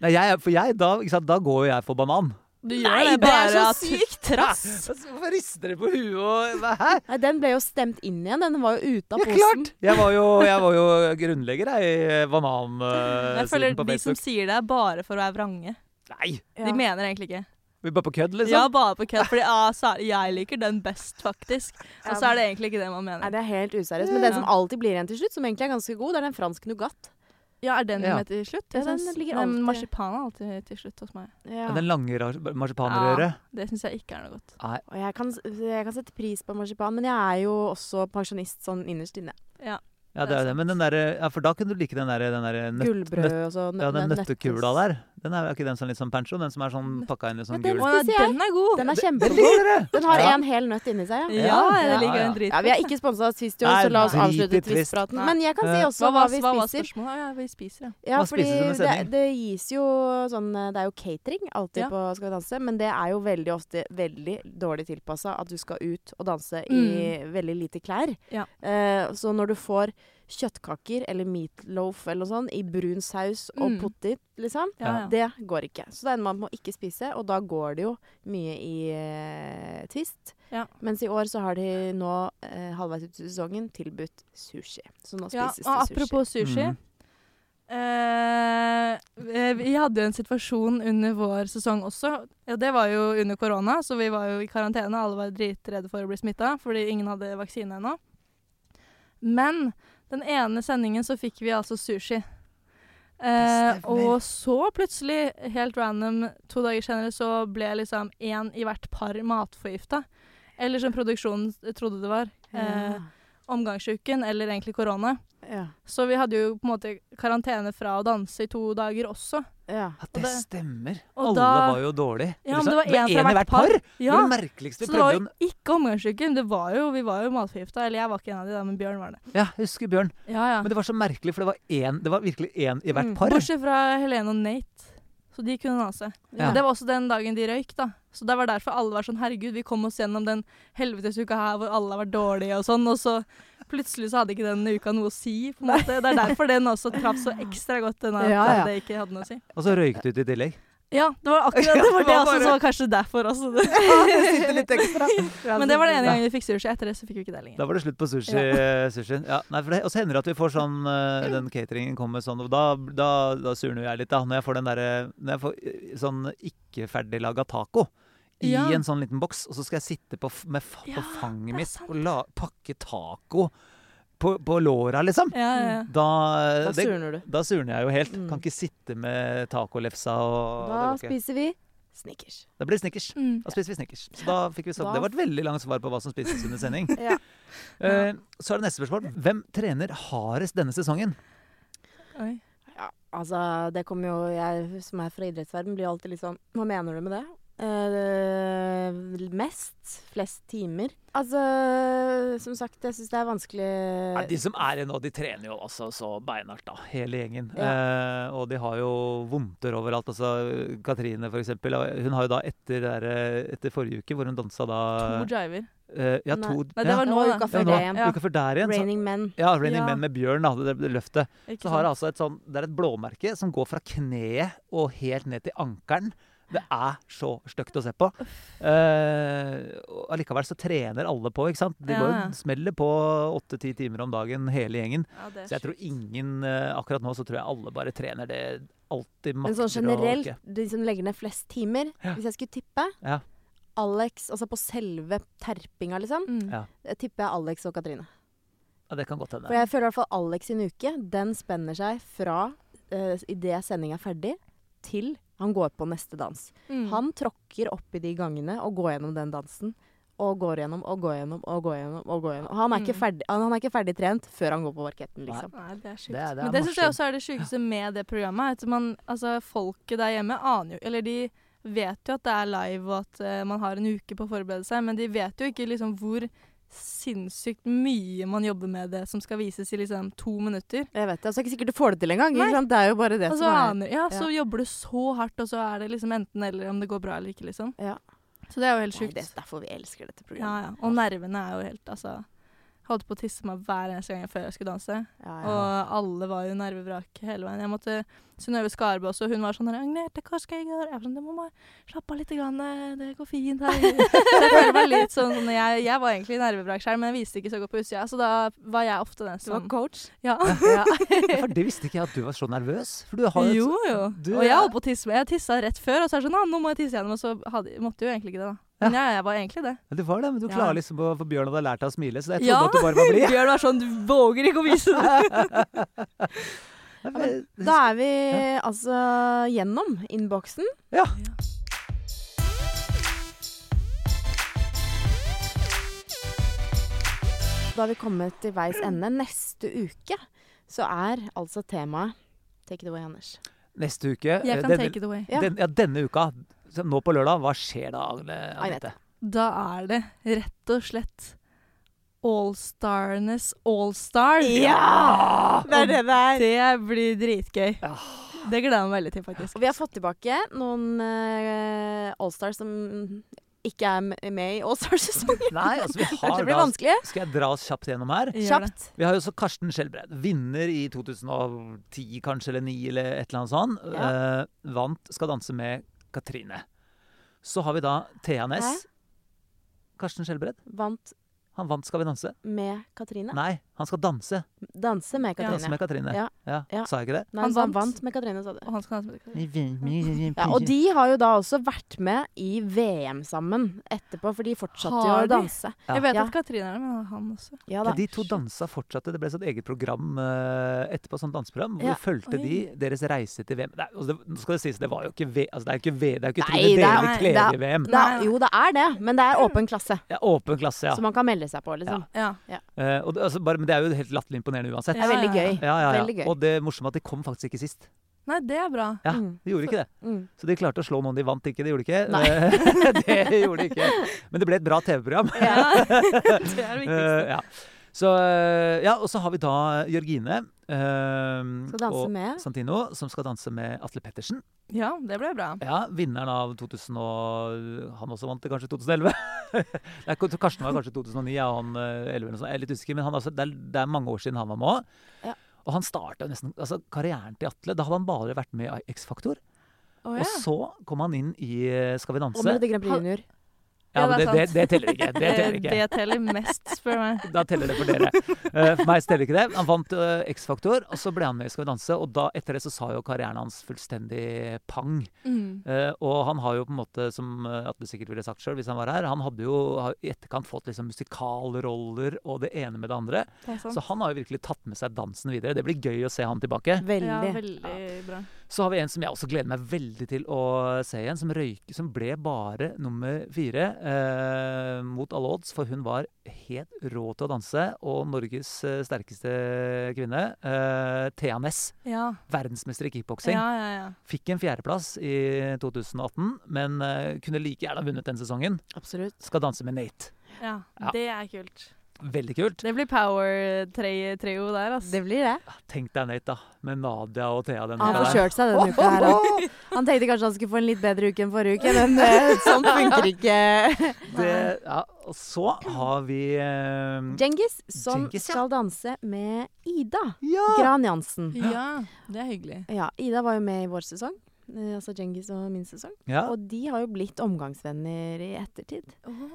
Nei, jeg, for jeg, da, ikke sant, da går jo jeg for banan. Du gjør Nei, det det er bare så at sykt trass! Altså, Hvorfor rister dere på huet og hva- Hæ? Nei, den ble jo stemt inn igjen. Den var jo ute av Ja, posen. klart! Jeg var jo, jeg var jo grunnlegger jeg, i Jeg føler banansiden Eh, på de som Facebook. sier det, er bare for å være vrange. Nei! Ja. De mener egentlig ikke. Vi er bare på kødd, Ja, liksom. bare på kødd. Fordi ah, så er, jeg liker den best, faktisk. Og så er det egentlig ikke det man Nei, mener. det er helt useriøst. Men Ja. den som alltid blir igjen til slutt, som egentlig er ganske god, det er den fransk nougat. Ja, Er den Ja. med til slutt? Ja, den synes- ligger men alltid- marsipan er alltid til slutt hos meg. Ja. Den lange rar- marsipanrøret. Det syns jeg ikke er noe godt. Nei. Og jeg kan, jeg kan sette pris på marsipan, men jeg er jo også pensjonist sånn innerst inne. Ja, det er det. Men den derre ja, For da kunne du like den derre der nøtt... nøtt- Gullbrød og sånn, så Ja, den nø- nøttekula der. Den er jo ikke den som er litt sånn pancho, den som er sånn pakka inn litt sånn Ja, den gul. var- Å, spiser jeg. den er god! Den er Den kjempegod. liker dere! Den har Ja. en hel nøtt inni seg, ja. ja, Ja, jeg liker ja, ja. den dritgodt. ja vi er ikke sponsa av Twist i år, Nei, så la oss drit i avslutte Twist. Twist-praten. Nei. Men jeg kan si Eh, også hva vi hva var spiser. spørsmålet? Ja, vi spiser, ja. Ja, Hva fordi spises under det, sending? det gis jo sånn Det er jo catering alltid Ja. på Skal vi danse, men det er jo veldig ofte veldig dårlig tilpassa at du skal ut og danse i veldig lite klær. Mm. Ja. Eh, så når du får kjøttkaker eller meatloaf eller noe sånt i brun saus og Mm. potet, liksom, ja, Ja. ja. det går ikke. Så det er en man må ikke spise, og da går det jo mye i eh, twist. Ja. Mens i år så har de nå, eh, halvveis ut i sesongen, tilbudt sushi. Så nå Ja, spises og det sushi. apropos sushi. Mm. Eh, vi hadde jo en situasjon under vår sesong også. Ja, det var jo under korona, så vi var jo i karantene. Alle var dritredde for å bli smitta fordi ingen hadde vaksine ennå. Men den ene sendingen så fikk vi altså sushi. Eh, Det stemmer. og så plutselig, helt random, to dager senere så ble liksom én i hvert par matforgifta. Eller som produksjonen trodde det var. Eh, omgangsuken, eller egentlig korona. ja. Så vi hadde jo på en måte karantene fra å danse i to dager også. Ja. Ja, det det- stemmer. og Alle da- var jo dårlige. Ja, men det var en fra hvert par. Det Ja, var det merkeligste. Vi så det var prøvde jo jo ikke omgangsuken. Det var jo, vi var jo matforgifta. Eller jeg var ikke en av de, da, men Bjørn var det. Ja, jeg husker Bjørn. Ja, ja. Men det var så merkelig, for det var, én, det var virkelig én i hvert Mm. par. Bortsett fra Helene og Nate. Så de kunne danse. Ja. Det var også den dagen de røyk, da. Så det var derfor alle var sånn herregud, vi kom oss gjennom den helvetesuka her hvor alle har vært dårlige og sånn, og så plutselig så hadde ikke den uka noe å si, på en måte. Det er derfor den også traff så ekstra godt, den at Ja, ja. det ikke hadde noe å si. Og så røyket du ut i tillegg. Ja, det var akkurat det var Det det var også, bare- så var kanskje derfor også. Det. Men det var den ene gangen vi fikk sushi. Etter det så fikk vi ikke det lenger. Da var det slutt på sushi, sushien. Ja, nei, for det, og så hender det at vi får sånn eh, Den cateringen kommer sånn, og da, da, da surner jeg litt, da. Når jeg får den derre Når jeg får eh, sånn ikke-ferdiglaga taco i Ja. en sånn liten boks, og så skal jeg sitte på, f- med, f- Ja, på fanget er mitt sant. og la, pakke taco på, på låra, liksom. Ja, ja, ja. Da, Da Eh, det, surner du. da surner jeg jo helt. Mm. Kan ikke sitte med tacolefsa og Da det går ikke. spiser vi snickers. Da blir det snickers. Mm. Da spiser vi snickers. Så da fikk vi sagt, Da- Det var et veldig langt svar på hva som spises under sending. Ja. Eh, så er det neste spørsmål. Hvem trener hardest denne sesongen? Oi. Altså, det kommer jo Jeg som er fra idrettsverden, blir jo alltid litt sånn Hva mener du med det? Eh, mest. Flest timer. Altså, som sagt, jeg syns det er vanskelig Nei, de som er her nå, de trener jo også så beinhardt, da. Hele gjengen. Eh, og de har jo vondter overalt. Altså, Katrine, for eksempel. Hun har jo da etter, det der, eh, etter forrige uke, hvor hun dansa da To driver. eh, Ja, to Nei, det ja, var nå, Og da. uka ja, før nå, det igjen. ja. Uka før der igjen. Så, Raining Men. ja, Raining Ja. Men med bjørn, da. Det, det løftet. Ikke Så har sant? jeg altså et sånn, Det er et blåmerke som går fra kneet og helt ned til ankelen. Det er så stygt å se på. Eh, og allikevel så trener alle på, ikke sant. De Ja, går ja. og smeller på åtte-ti timer om dagen, hele gjengen. Ja, det er Så jeg tror sjukt. ingen eh, Akkurat nå så tror jeg alle bare trener det alltid Men makter sånn generelt, å orke. de som legger ned flest timer Ja. Hvis jeg skulle tippe Ja. Alex, altså på selve terpinga, liksom, Mm. Ja. jeg tipper jeg Alex og Katrine. Ja, det kan godt For hende. jeg føler i hvert fall Alex sin uke, den spenner seg fra uh, idet sendinga er ferdig, til han går på neste dans. Mm. Han tråkker opp i de gangene og går gjennom den dansen. Og går gjennom og går gjennom og går gjennom. og går gjennom. Han er ikke Mm. ferdig, han, han er ikke ferdig trent før han går på parketten, liksom. Nei, det er sjukt. Det er- det er Men det syns jeg marsjen. også er det sjukeste med det programmet. er At man, altså, folket der hjemme aner jo Eller de vet jo at det er live, og at eh, man har en uke på å forberede seg, men de vet jo ikke liksom hvor sinnssykt mye man jobber med det som skal vises i liksom to minutter. Jeg vet det, altså, Det er ikke sikkert du får det til engang. ikke Nei. Altså, sant? Det er jo bare det Og så som er aner Ja, så jobber du så hardt, og så er det liksom enten eller om det går bra eller ikke, liksom. Ja. Så det er jo helt Nei, sjukt. det er derfor vi elsker dette Ja, programmet. ja. Og nervene er jo helt Altså. jeg Holdt på å tisse meg hver eneste gang før jeg skulle danse. Ja, ja. Og alle var jo nervevrak hele veien. Jeg måtte Synnøve Skarbe også, hun var sånn her 'Agnete, hva skal jeg gjøre?' Jeg var sånn 'Det må bare slappe av litt, grann. eh, det går fint her'. så jeg føler meg litt sånn sånn, jeg, jeg var egentlig nervevrak selv, men jeg viste ikke så godt på utsida, så da var jeg ofte den Du var som coach? Ja. Ja. Ja, for det visste ikke jeg at du var så nervøs. For du har Jo, jo. Du- og jeg holdt på å tisse meg. Jeg tissa rett før, og så er det sånn «Ah, 'Nå må jeg tisse igjen', og så hadde, måtte jeg jo egentlig ikke det, da. Men ja, jeg var egentlig det. Ja, Du var det, men du Ja. klarer liksom å For Bjørn hadde lært deg å smile, så jeg trodde Ja. at du bare var blid. Bjørn var sånn 'Du våger ikke å vise det'. Ja, men- Da er vi altså gjennom innboksen. Ja. Da har vi kommet til veis ende. Neste uke så er altså temaet Take it away, Anders. Neste uke eh, Jeg kan denne- take it away. Ja. Den, ja, denne uka, så nå på lørdag, hva skjer da, Agne? Agnete? Da er det rett og slett Allstarnes Allstar. Ah, Ja! Det er det det er. Det blir dritgøy. Ja. Det gleder jeg meg veldig til, faktisk. Og vi har fått tilbake noen eh, Allstars som ikke er m- med i Allstars-sesongen. Nei, altså vi har Dette blir da- vanskelig. Skal jeg dra oss kjapt gjennom her? Gjør det. Kjapt. Vi har jo også Karsten Skjelbred, vinner i 2010 kanskje, eller 2009 eller et eller annet sånt. Eh, vant Skal danse med Katrine. Så har vi da Thea Næss. Hæ? Karsten Skjelbred, Vant han vant Skal vi danse? med Katrine. Nei, han skal danse. Danse med Ja. Danse Katrine. med Katrine. Ja. Ja. Sa jeg ikke det? Nei, Han så han vant. vant med Katrine, sa du. Og han skal ha det. Ja, og de har jo da også vært med i VM sammen etterpå, for de fortsatte jo å Har de? danse. Ja. Jeg vet Ja. at Katrine er det, men han også. Ja Ja, da. de to dansa fortsatte. Det ble et sånt eget program eh, etterpå, sånt danseprogram, hvor Ja. fulgte de Oi. deres reise til VM. Nei, altså, det, nå skal det sies, det var jo ikke V... Altså, det er jo ikke V... Det er jo ikke Nei, Trine det er- Delvik det er- Kleve-VM. Da, Nei, nei. jo, det er det, men det er åpen klasse, Ja, åpen klasse, ja. så man kan melde seg på, liksom. Ja. Eh, og det, altså, bare, men det er jo helt latterlig imponerende uansett. Det er veldig Ja, ja, gøy. Ja, ja, Veldig ja. gøy. Og det morsomme er at de kom faktisk ikke sist. Nei, det er bra. Ja, Mm. De gjorde ikke det. Mm. Så de klarte å slå noen de vant ikke. Det gjorde de ikke. Nei. Eh, det gjorde de ikke. Men det ble et bra TV-program. det er det Eh, viktigste. ja. Så, eh, ja, og så har vi da Jørgine. eh, Skal danse og med. Santino, som skal danse med Atle Pettersen. Ja, det ble bra. Ja, vinneren av 2000 og Han også vant det kanskje 2011? Nei, K- Karsten var kanskje 2009, ja, han eh, 11 eller noe sånt. Jeg er litt usikker, men han, altså, det, er, det er mange år siden han var med òg. Ja. Og han starta nesten altså, karrieren til Atle. Da hadde han bare vært med i X-Faktor. Å Og ja. så kom han inn i eh, Skal vi Og danse. Melodi Grand Prix Han- Junior. Ja, Ja, men det det, er det, sant. det teller ikke. Det teller ikke. Eh, det teller mest, spør meg. Da teller det for dere. Eh, for meg så teller ikke det. Han vant eh, X-Faktor, og så ble han med i Skal vi danse. Og da, etter det så sa jo karrieren hans fullstendig pang. Mm. Eh, og han har jo på en måte, som eh, Atle sikkert ville sagt sjøl hvis han var her, han hadde jo har i etterkant fått liksom musikalroller og det ene med det andre. Det er sant. Mm. Så han har jo virkelig tatt med seg dansen videre. Det blir gøy å se han tilbake. Veldig. Ja, veldig bra. Så har vi en som jeg også gleder meg veldig til å se igjen, som, røyk, som ble bare nummer fire eh, mot alle odds, for hun var helt rå til å danse, og Norges eh, sterkeste kvinne, eh, Thea Ness, Ja. verdensmester i kickboksing, ja, ja, ja. fikk en fjerdeplass i 2018, men eh, kunne like gjerne vunnet den sesongen. Absolutt. Skal danse med Nate. ja. Ja. Det er kult. Veldig kult. Det blir power-trio der, altså. Det blir det. Tenk deg Nate, da, med Nadia og Thea denne Han uka får der. kjørt seg denne uka her. han. Han tenkte kanskje han skulle få en litt bedre uke enn forrige uke, men eh, sånn funker ikke. Det, ja, og så har vi eh, Djengis, som Djengis, ja. skal danse med Ida Ja! Gran Jansen. Ja, det er hyggelig. Ja, Ida var jo med i vår sesong. eh, Altså Djengis og min sesong. ja. Og de har jo blitt omgangsvenner i ettertid.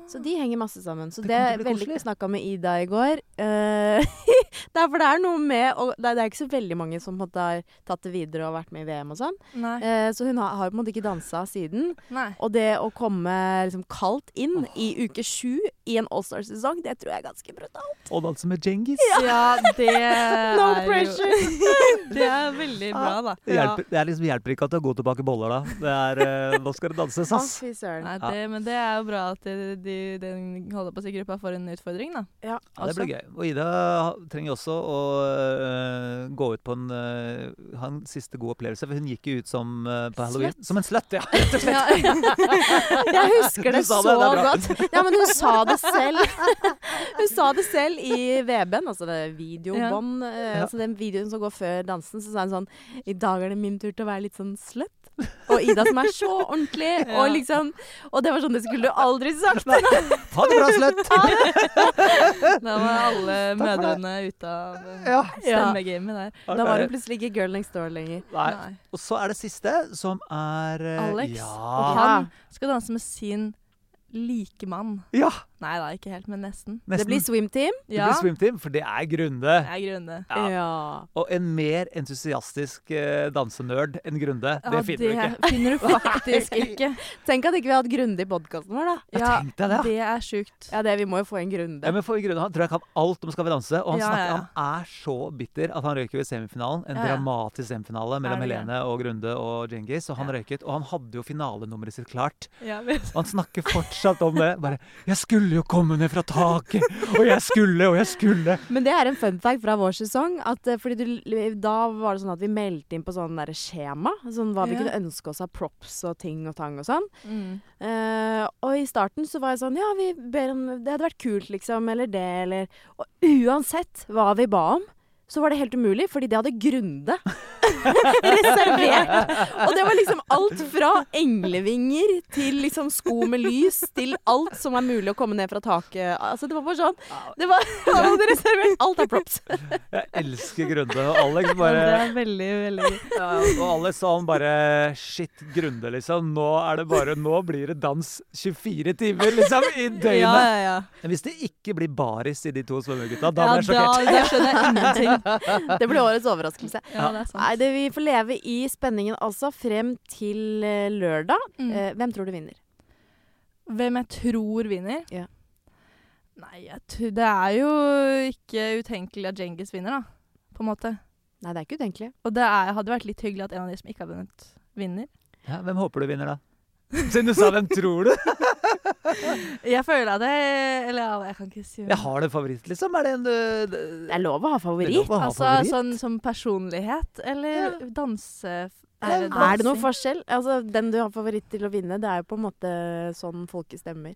Så de henger masse sammen. Så Det det, kommer er til å bli veldig koselig. Jeg snakka med Ida i går. Eh, det er for det er noe med og det, er- det er ikke så veldig mange som på en måte har tatt det videre og vært med i VM og sånn. Nei. Eh, så hun har, har på en måte ikke dansa siden. Nei. Og det å komme liksom kaldt inn i uke sju i en Allstar-sesong, det tror jeg er ganske brutalt. Og danse med Djengis. Ja, det er No jo- pressure! Det er veldig bra, da. Det hjelper, det er liksom, hjelper ikke at du har gått tilbake boller, da. Det er, eh, nå skal det danses, Å, ass. fy søren. Nei, Ja. det, men det er jo bra at de, de, den holder på å si gruppa får en utfordring, da. Ja, det blir gøy. Og Ida trenger også å øh, gå ut på en, øh, ha en siste god opplevelse, for hun gikk jo ut som øh, på halloween. Som en slutt, ja! rett og slett. Jeg husker Du det sa så det, det er bra. godt. Ja, men hun sa det selv. Hun sa det selv i VB-en, altså det videobånd. eh, Ja. Altså den videoen som går før dansen, så sa hun sånn I dag er det min tur til å være litt sånn slutt. Og Ida som er så ordentlig, Ja. og liksom Og det var sånn Det skulle du aldri sagt. Ha det bra, slutt! Da var alle for det. mødrene ute av eh, Ja. stemmegamet der. Da var hun plutselig ikke girl next door lenger. Nei. Nei. Og så er det siste, som er øh, Alex og Ja. han skal danse med sin likemann. ja Nei da, ikke helt, men nesten. Det nesten. blir swim team. Det Ja, blir swim team, for det er Grunde. det er Grunde. Ja. Ja. Og en mer entusiastisk øh, dansenerd enn Grunde, det Ja, finner du ikke. Det finner du faktisk ikke. Tenk at ikke vi har hatt Grunde i podkasten vår, da. Ja, Tenk deg det, da. det er sjukt. Ja, det, vi må jo få en Grunde. Ja, men for Grønland, Han tror jeg kan alt om Skal vi danse. Og han, Ja, snakker, ja, ja. han er så bitter at han røyker ved semifinalen. En Ja, ja. dramatisk semifinale mellom Er det det? Helene og Grunde og Djengis. Og han Ja. røyket. Og han hadde jo finalenummeret sitt klart. Ja, men- Og han snakker fortsatt om det. Bare 'Jeg skulle jo komme ned fra taket', og 'jeg skulle', og 'jeg skulle'. Men det er en fun fact fra vår sesong. At, eh, fordi du, da var det sånn at vi meldte inn på sånn derre skjema. Sånn hva vi Ja. kunne ønske oss av props og ting og tang og sånn. Mm. Eh, og i starten så var jeg sånn Ja, vi ber om Det hadde vært kult, liksom. Eller det, eller Og uansett hva vi ba om, så var det helt umulig, fordi det hadde Grunde reservert. Og det var liksom alt fra englevinger til liksom sko med lys til alt som er mulig å komme ned fra taket. Altså, det var bare sånn Det var Han hadde reservert alt av props. Jeg elsker Grunde. Og Alex Men bare det er veldig, veldig gøy. Ja, og alle sa han bare Shit, Grunde, liksom. Nå er det bare Nå blir det dans 24 timer, liksom, i Ja, døgnet. ja, ja. Men Hvis det ikke blir baris i de to svømmegutta, da Ja, blir jeg da, sjokkert. da skjønner jeg ingenting. Det ble årets overraskelse. Ja, det er sant. Nei, det, Vi får leve i spenningen altså frem til eh, lørdag. Mm. Eh, hvem tror du vinner? Hvem jeg tror vinner? Ja. Nei, jeg tror, det er jo ikke utenkelig at Djengis vinner, da. På en måte. Nei, det er ikke utenkelig. Og det er, hadde vært litt hyggelig at en av de som ikke har vunnet, vinner. Ja, hvem håper du vinner, da? Siden du sa 'hvem tror du'? Jeg føler at jeg Eller ja, jeg kan ikke si hvem. Jeg har en favoritt, liksom. Er det en du Det er lov å ha det er favoritt. lov å ha Altså favoritt? sånn som personlighet eller danse... Er, eller det noen dansing. forskjell? Altså, den du har favoritt til å vinne, det er jo på en måte sånn folket stemmer.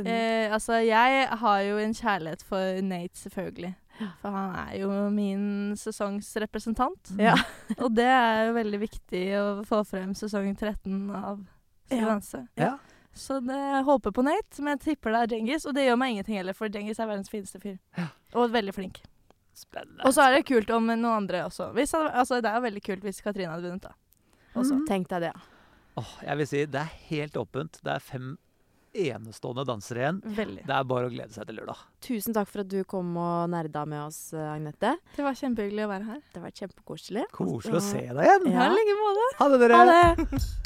Den, Eh, altså, jeg har jo en kjærlighet for Nate, selvfølgelig. For han er jo min sesongsrepresentant. Mm. Ja. Og det er jo veldig viktig å få frem sesong 13 av Skal vi Ja. danse. Ja. Så det jeg håper på Nate, men jeg tipper det er Djengis. Og det gjør meg ingenting heller, for Djengis er verdens fineste fyr. Og veldig flink. Spennende. Og så er det kult om noen andre også. Hvis, han- altså, det er jo veldig kult hvis Katrine hadde vunnet, da. Også. Tenk deg det. ja. Åh, jeg vil si det er helt åpent. Det er fem enestående dansere igjen. Veldig. Det er bare å glede seg til lørdag. Tusen takk for at du kom og nerda med oss, eh, Agnete. Det var kjempehyggelig å være her. Det har vært kjempekoselig. Koselig å se deg igjen. Ja. I like måte. Ha det, dere. Ha det!